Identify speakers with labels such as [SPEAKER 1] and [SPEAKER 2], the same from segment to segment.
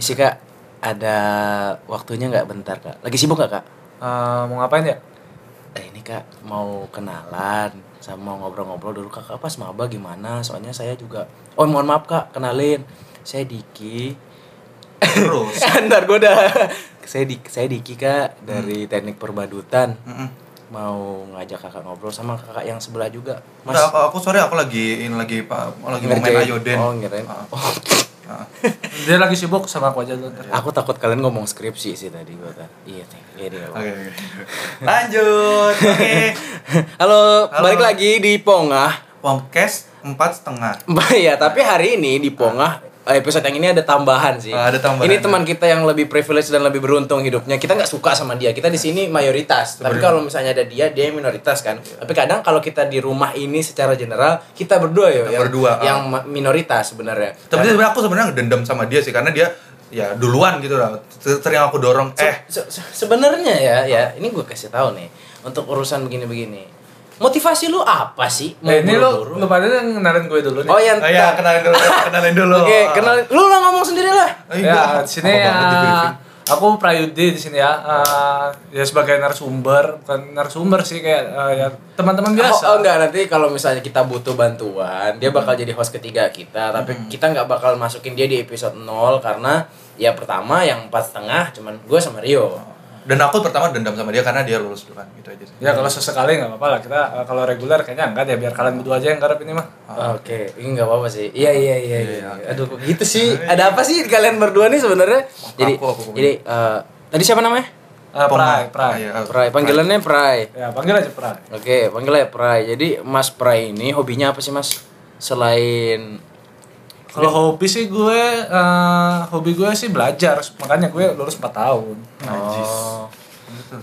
[SPEAKER 1] sih kak ada waktunya nggak bentar kak lagi sibuk nggak kak
[SPEAKER 2] Eh, mau ngapain ya?
[SPEAKER 1] eh ini kak mau kenalan sama ngobrol-ngobrol dulu kakak pas maba gimana soalnya saya juga oh mohon maaf kak kenalin saya Diki
[SPEAKER 3] terus
[SPEAKER 1] ntar gue dah saya Dik saya Diki kak
[SPEAKER 3] Hmm.
[SPEAKER 1] dari teknik perbadutan
[SPEAKER 3] Mm-mm.
[SPEAKER 1] mau ngajak kakak ngobrol sama kakak yang sebelah juga mas
[SPEAKER 3] Udah, aku, aku sorry aku lagi ini lagi pak lagi mau main
[SPEAKER 1] ngerjain-
[SPEAKER 3] ayoden
[SPEAKER 1] oh ngirain
[SPEAKER 3] Ah,
[SPEAKER 1] Oh,
[SPEAKER 3] ah.
[SPEAKER 2] Dia lagi sibuk sama aku aja dulu ntar.
[SPEAKER 1] aku takut kalian ngomong skripsi sih tadi gue kan iya Teh. iya iya, iya.
[SPEAKER 3] Oke, oke. Lanjut. Oke.
[SPEAKER 1] Halo,
[SPEAKER 3] Halo.
[SPEAKER 1] balik lagi di Pongah.
[SPEAKER 3] Wongkes empat setengah.
[SPEAKER 1] Mbak ya, tapi hari ini di Pongah eh, episode yang ini ada tambahan sih.
[SPEAKER 3] Ah, ada tambahan.
[SPEAKER 1] Ini teman kita yang lebih privilege dan lebih beruntung hidupnya. Kita nggak suka sama dia. Kita di sini mayoritas. Tapi
[SPEAKER 3] Sebenarnya.
[SPEAKER 1] kalau misalnya ada dia, dia yang minoritas kan. Tapi kadang kalau kita di rumah ini secara general kita berdua ya
[SPEAKER 3] Kita
[SPEAKER 1] yang
[SPEAKER 3] berdua, ah.
[SPEAKER 1] yang ma- minoritas sebenarnya.
[SPEAKER 3] Tapi sebenarnya aku sebenarnya dendam sama dia sih karena dia ya duluan gitu lah. Sering aku dorong.
[SPEAKER 1] Se-
[SPEAKER 3] Eh,
[SPEAKER 1] se- se- sebenarnya ya ya ini gue kasih tahu nih untuk urusan begini-begini. Motivasi lu apa sih? Mau
[SPEAKER 2] Nah,
[SPEAKER 3] Eh,
[SPEAKER 2] ini lo
[SPEAKER 1] buru-buru?
[SPEAKER 2] lo pada yang kenalin gue dulu nih.
[SPEAKER 1] Oh ya,
[SPEAKER 3] oh ya kenalin dulu, kenalin dulu. Ah,
[SPEAKER 1] Oke, kenal lu lah ngomong sendiri lah.
[SPEAKER 2] ya, di sini ya. Aku Prayudi di sini ya. Eh, ya sebagai narasumber, bukan narasumber sih kayak eh, ya teman-teman biasa.
[SPEAKER 1] Oh, oh, enggak nanti kalau misalnya kita butuh bantuan, dia bakal jadi host ketiga kita, tapi kita nggak bakal masukin dia di episode 0 karena ya pertama yang empat setengah cuman gue sama Rio.
[SPEAKER 3] Dan aku pertama dendam sama dia karena dia lulus duluan gitu aja sih.
[SPEAKER 2] Ya kalau sesekali nggak apa-apa lah kita eh, kalau reguler kayaknya enggak deh biar kalian berdua aja yang garap ini mah.
[SPEAKER 1] Oke, ini nggak apa-apa sih. Iya iya iya. iya,
[SPEAKER 3] Iya, oke.
[SPEAKER 1] Aduh, kok gitu sih. Ada apa sih kalian berdua nih sebenarnya? Jadi,
[SPEAKER 3] aku- aku-
[SPEAKER 1] jadi eh, tadi siapa namanya?
[SPEAKER 2] Eh, Pray, Pray.
[SPEAKER 3] Iya,
[SPEAKER 1] Prai. Panggilannya Prai.
[SPEAKER 2] Ya panggil aja Pray.
[SPEAKER 1] Oke, panggilnya Prai. Jadi Mas Prai ini hobinya apa sih Mas? Selain
[SPEAKER 2] Kalau hobi sih gue, eh, hobi gue sih belajar, makanya gue lulus 4 tahun.
[SPEAKER 1] Oh.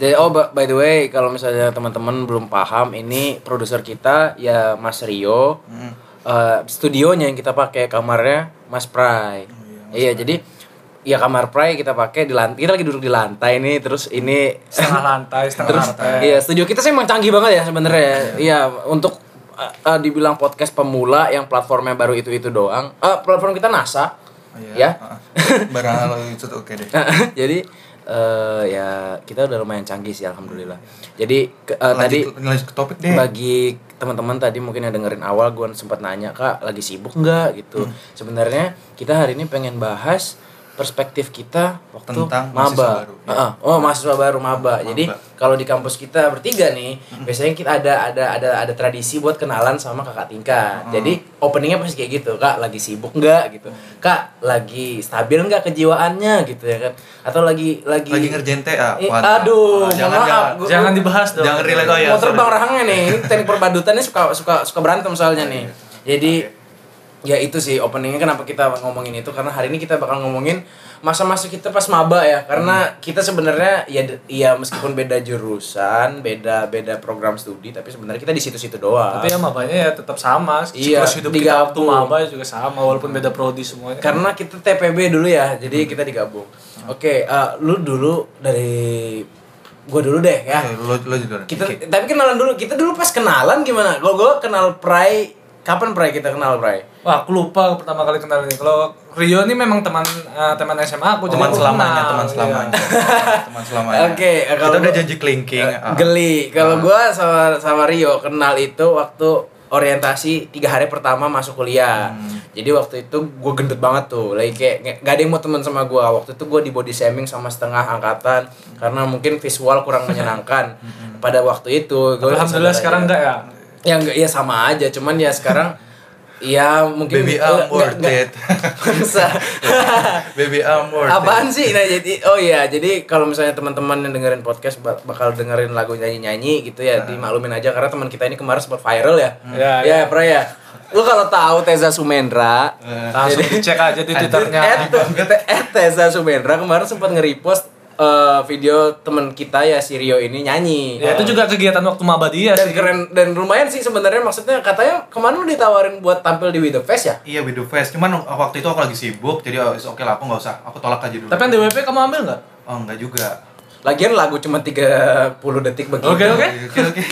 [SPEAKER 1] Jadi, oh ba- by the way, kalau misalnya teman-teman belum paham, ini produser kita ya Mas Rio. Eh, studionya yang kita pakai kamarnya Mas Prai. iya, jadi ya kamar Prai kita pakai di lantai. Kita lagi duduk di lantai nih, terus ini
[SPEAKER 2] Setengah lantai, setengah
[SPEAKER 1] terus
[SPEAKER 2] lantai.
[SPEAKER 1] iya, studio kita sih emang canggih banget ya sebenarnya. ya. Iya, untuk eh, eh, dibilang podcast pemula yang platformnya baru itu-itu doang. Eh, platform kita NASA. Ya.
[SPEAKER 3] Ah, Barang lo itu tuh oke deh.
[SPEAKER 1] jadi eh, ya kita udah lumayan canggih sih alhamdulillah jadi ke- eh, tadi
[SPEAKER 3] Lanjut, lanjut ke topik deh.
[SPEAKER 1] bagi teman-teman tadi mungkin yang dengerin awal gue sempat nanya kak lagi sibuk nggak gitu
[SPEAKER 3] Hmm.
[SPEAKER 1] sebenarnya kita hari ini pengen bahas perspektif kita waktu
[SPEAKER 3] Tentang
[SPEAKER 1] maba
[SPEAKER 3] mahasiswa baru, ya.
[SPEAKER 1] Heeh. oh mahasiswa baru maba jadi kalau di kampus kita bertiga nih
[SPEAKER 3] Hmm.
[SPEAKER 1] biasanya kita ada ada ada ada tradisi buat kenalan sama kakak tingkat
[SPEAKER 3] Hmm.
[SPEAKER 1] jadi openingnya pasti kayak gitu kak lagi sibuk nggak gitu kak lagi stabil nggak kejiwaannya gitu ya kan atau lagi lagi
[SPEAKER 3] Lagi ngerjain TA.
[SPEAKER 1] Eh,
[SPEAKER 3] Wan.
[SPEAKER 1] aduh,
[SPEAKER 3] Ah,
[SPEAKER 1] mohon
[SPEAKER 3] jangan,
[SPEAKER 1] maaf.
[SPEAKER 3] jangan.
[SPEAKER 1] Gua-
[SPEAKER 2] Jangan dibahas dong.
[SPEAKER 3] Jangan relate
[SPEAKER 2] Iya,
[SPEAKER 3] oh ya.
[SPEAKER 1] mau terbang
[SPEAKER 3] sorry.
[SPEAKER 1] rahangnya nih ini teknik perbadutannya suka suka suka berantem soalnya nih jadi ya itu sih openingnya kenapa kita ngomongin itu karena hari ini kita bakal ngomongin masa-masa kita pas maba ya karena kita sebenarnya ya d- ya meskipun beda jurusan beda beda program studi tapi sebenarnya kita di situ-situ doang
[SPEAKER 2] Tapi ya mabanya ya tetap sama.
[SPEAKER 1] Iya,
[SPEAKER 2] Siklus hidup kita waktu
[SPEAKER 1] digabung.
[SPEAKER 2] maba juga sama walaupun beda prodi semuanya.
[SPEAKER 1] karena kita TPB dulu ya jadi kita digabung oke eh, lu dulu dari gua dulu deh ya
[SPEAKER 3] Eh, Lo lo juga.
[SPEAKER 1] kita tapi kenalan dulu kita dulu pas kenalan gimana kalau gue kenal Prai kapan Prai kita kenal Prai
[SPEAKER 2] Wah, aku lupa pertama kali kenal ini. Kalau Rio ini memang teman eh, teman SMA aku jadi
[SPEAKER 3] teman
[SPEAKER 2] aku
[SPEAKER 3] selamanya,
[SPEAKER 2] kenal,
[SPEAKER 3] teman
[SPEAKER 2] iya.
[SPEAKER 3] selamanya. teman selamanya.
[SPEAKER 1] Oh, nah, Oke, eh, kalau
[SPEAKER 3] Kita udah
[SPEAKER 1] gua- eh,
[SPEAKER 3] janji kelingking. ah.
[SPEAKER 1] geli kalau gua sama sama Rio kenal itu waktu orientasi tiga hari pertama masuk kuliah
[SPEAKER 3] Hmm.
[SPEAKER 1] jadi waktu itu gue gendut banget tuh lagi kayak nge- gak ada yang mau teman sama gua waktu itu gue di body shaming sama setengah angkatan karena mungkin visual kurang menyenangkan
[SPEAKER 3] Hmm.
[SPEAKER 1] pada waktu itu gua
[SPEAKER 2] Alhamdulillah
[SPEAKER 1] sadar
[SPEAKER 2] sekarang
[SPEAKER 1] aja.
[SPEAKER 2] enggak
[SPEAKER 1] ya
[SPEAKER 2] ya.
[SPEAKER 1] enggak ya sama aja cuman ya sekarang ya mungkin
[SPEAKER 3] Baby
[SPEAKER 1] enggak-
[SPEAKER 3] I'm worth
[SPEAKER 1] enggak-
[SPEAKER 3] it.
[SPEAKER 1] Bangsa.
[SPEAKER 3] Baby I'm worth it.
[SPEAKER 1] Apaan sih? Nah, jadi oh iya, jadi kalau misalnya teman-teman yang dengerin podcast bak- bakal dengerin lagu nyanyi-nyanyi gitu ya,
[SPEAKER 2] Nah.
[SPEAKER 1] dimaklumin aja karena teman kita ini kemarin sempat viral ya.
[SPEAKER 2] Iya,
[SPEAKER 1] Ya, Pra ya. Lu kalau tahu Teza Sumendra,
[SPEAKER 3] Eh,
[SPEAKER 2] Langsung dicek aja di Twitternya.
[SPEAKER 1] eh, tuh, kata- eh, Teza Sumendra kemarin sempat nge-repost eh, video teman kita ya si Rio ini nyanyi.
[SPEAKER 2] Ya itu juga kegiatan waktu maba dia
[SPEAKER 1] Dan
[SPEAKER 2] sih.
[SPEAKER 1] keren dan lumayan sih sebenarnya maksudnya katanya kemarin lu ditawarin buat tampil di With The Fest ya?
[SPEAKER 3] Iya video fest, cuman waktu itu aku lagi sibuk, jadi oh, it's okay lah aku nggak usah, aku tolak aja dulu.
[SPEAKER 2] Tapi yang DWP kamu ambil nggak?
[SPEAKER 3] oh nggak juga.
[SPEAKER 1] Lagian lagu cuma 30 detik begitu.
[SPEAKER 2] Oke oke.
[SPEAKER 3] Oke oke.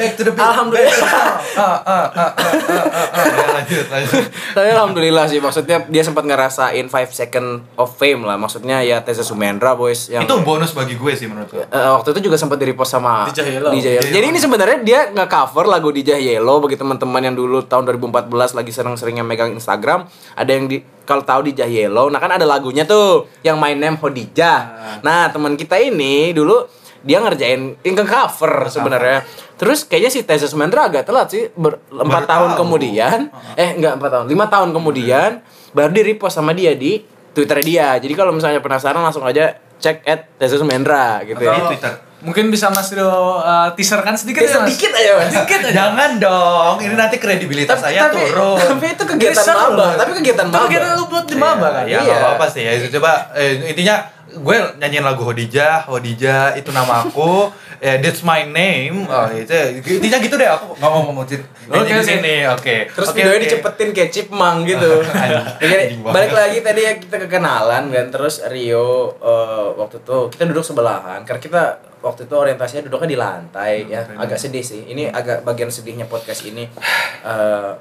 [SPEAKER 3] Back to the beat.
[SPEAKER 1] Alhamdulillah.
[SPEAKER 3] Ah ah ah ah ah, ah, ah. Ya, Lanjut lanjut.
[SPEAKER 1] Tapi alhamdulillah sih maksudnya dia sempat ngerasain 5 second of fame lah. Maksudnya ya Teza Sumendra boys yang
[SPEAKER 3] Itu bonus bagi gue sih menurut gue.
[SPEAKER 1] Eh, waktu itu juga sempat di repost sama
[SPEAKER 2] DJ Yellow.
[SPEAKER 1] DJ Yellow.
[SPEAKER 3] DJ
[SPEAKER 1] Jadi ini sebenarnya dia nge-cover lagu DJ Yellow bagi teman-teman yang dulu tahun 2014 lagi sering-seringnya megang Instagram, ada yang di kalau tahu DJ Yellow, nah kan ada lagunya tuh yang My Name Hodijah. Nah, teman kita ini dulu dia ngerjain yang cover sebenarnya. Terus kayaknya si Tessa Sumendra agak telat sih ber, 4
[SPEAKER 3] Baru
[SPEAKER 1] tahun
[SPEAKER 3] tahu.
[SPEAKER 1] kemudian. Eh enggak 4 tahun, 5 tahun kemudian baru di repost sama dia di Twitter dia. Jadi kalau misalnya penasaran langsung aja cek at Tessa Sumendra gitu ya.
[SPEAKER 3] Di Twitter.
[SPEAKER 2] Mungkin bisa Mas Rio uh, teaser kan sedikit ya Mas?
[SPEAKER 1] sedikit aja mas
[SPEAKER 2] Sedikit aja.
[SPEAKER 3] Jangan dong, ini nanti kredibilitas saya
[SPEAKER 1] Gitu tapi,
[SPEAKER 3] turun.
[SPEAKER 1] tapi itu kegiatan
[SPEAKER 2] Geser
[SPEAKER 1] maba
[SPEAKER 2] loh.
[SPEAKER 1] tapi kegiatan
[SPEAKER 2] Itu
[SPEAKER 1] maba
[SPEAKER 2] Kegiatan lu buat di Maba kan?
[SPEAKER 1] Iya.
[SPEAKER 3] Ya nggak apa-apa sih ya. Itu coba eh, intinya gue nyanyiin lagu Hodijah, Hodijah itu nama aku, eh, that's my name. Oh,
[SPEAKER 1] Iya.
[SPEAKER 3] itu intinya gitu deh aku ngomong ngomong Cid.
[SPEAKER 2] Oke,
[SPEAKER 3] Nyanyi di
[SPEAKER 2] oke.
[SPEAKER 3] sini. Oke.
[SPEAKER 1] Oh, terus
[SPEAKER 3] Oke,
[SPEAKER 1] videonya
[SPEAKER 3] oke.
[SPEAKER 1] dicepetin kayak chipmunk gitu Jadi,
[SPEAKER 3] Anjing banget.
[SPEAKER 1] balik lagi tadi ya kita kekenalan kan terus Rio eh, waktu itu kita duduk sebelahan karena kita waktu itu orientasinya duduknya di lantai ya
[SPEAKER 3] lantai
[SPEAKER 1] agak sedih sih ini agak bagian sedihnya podcast ini eh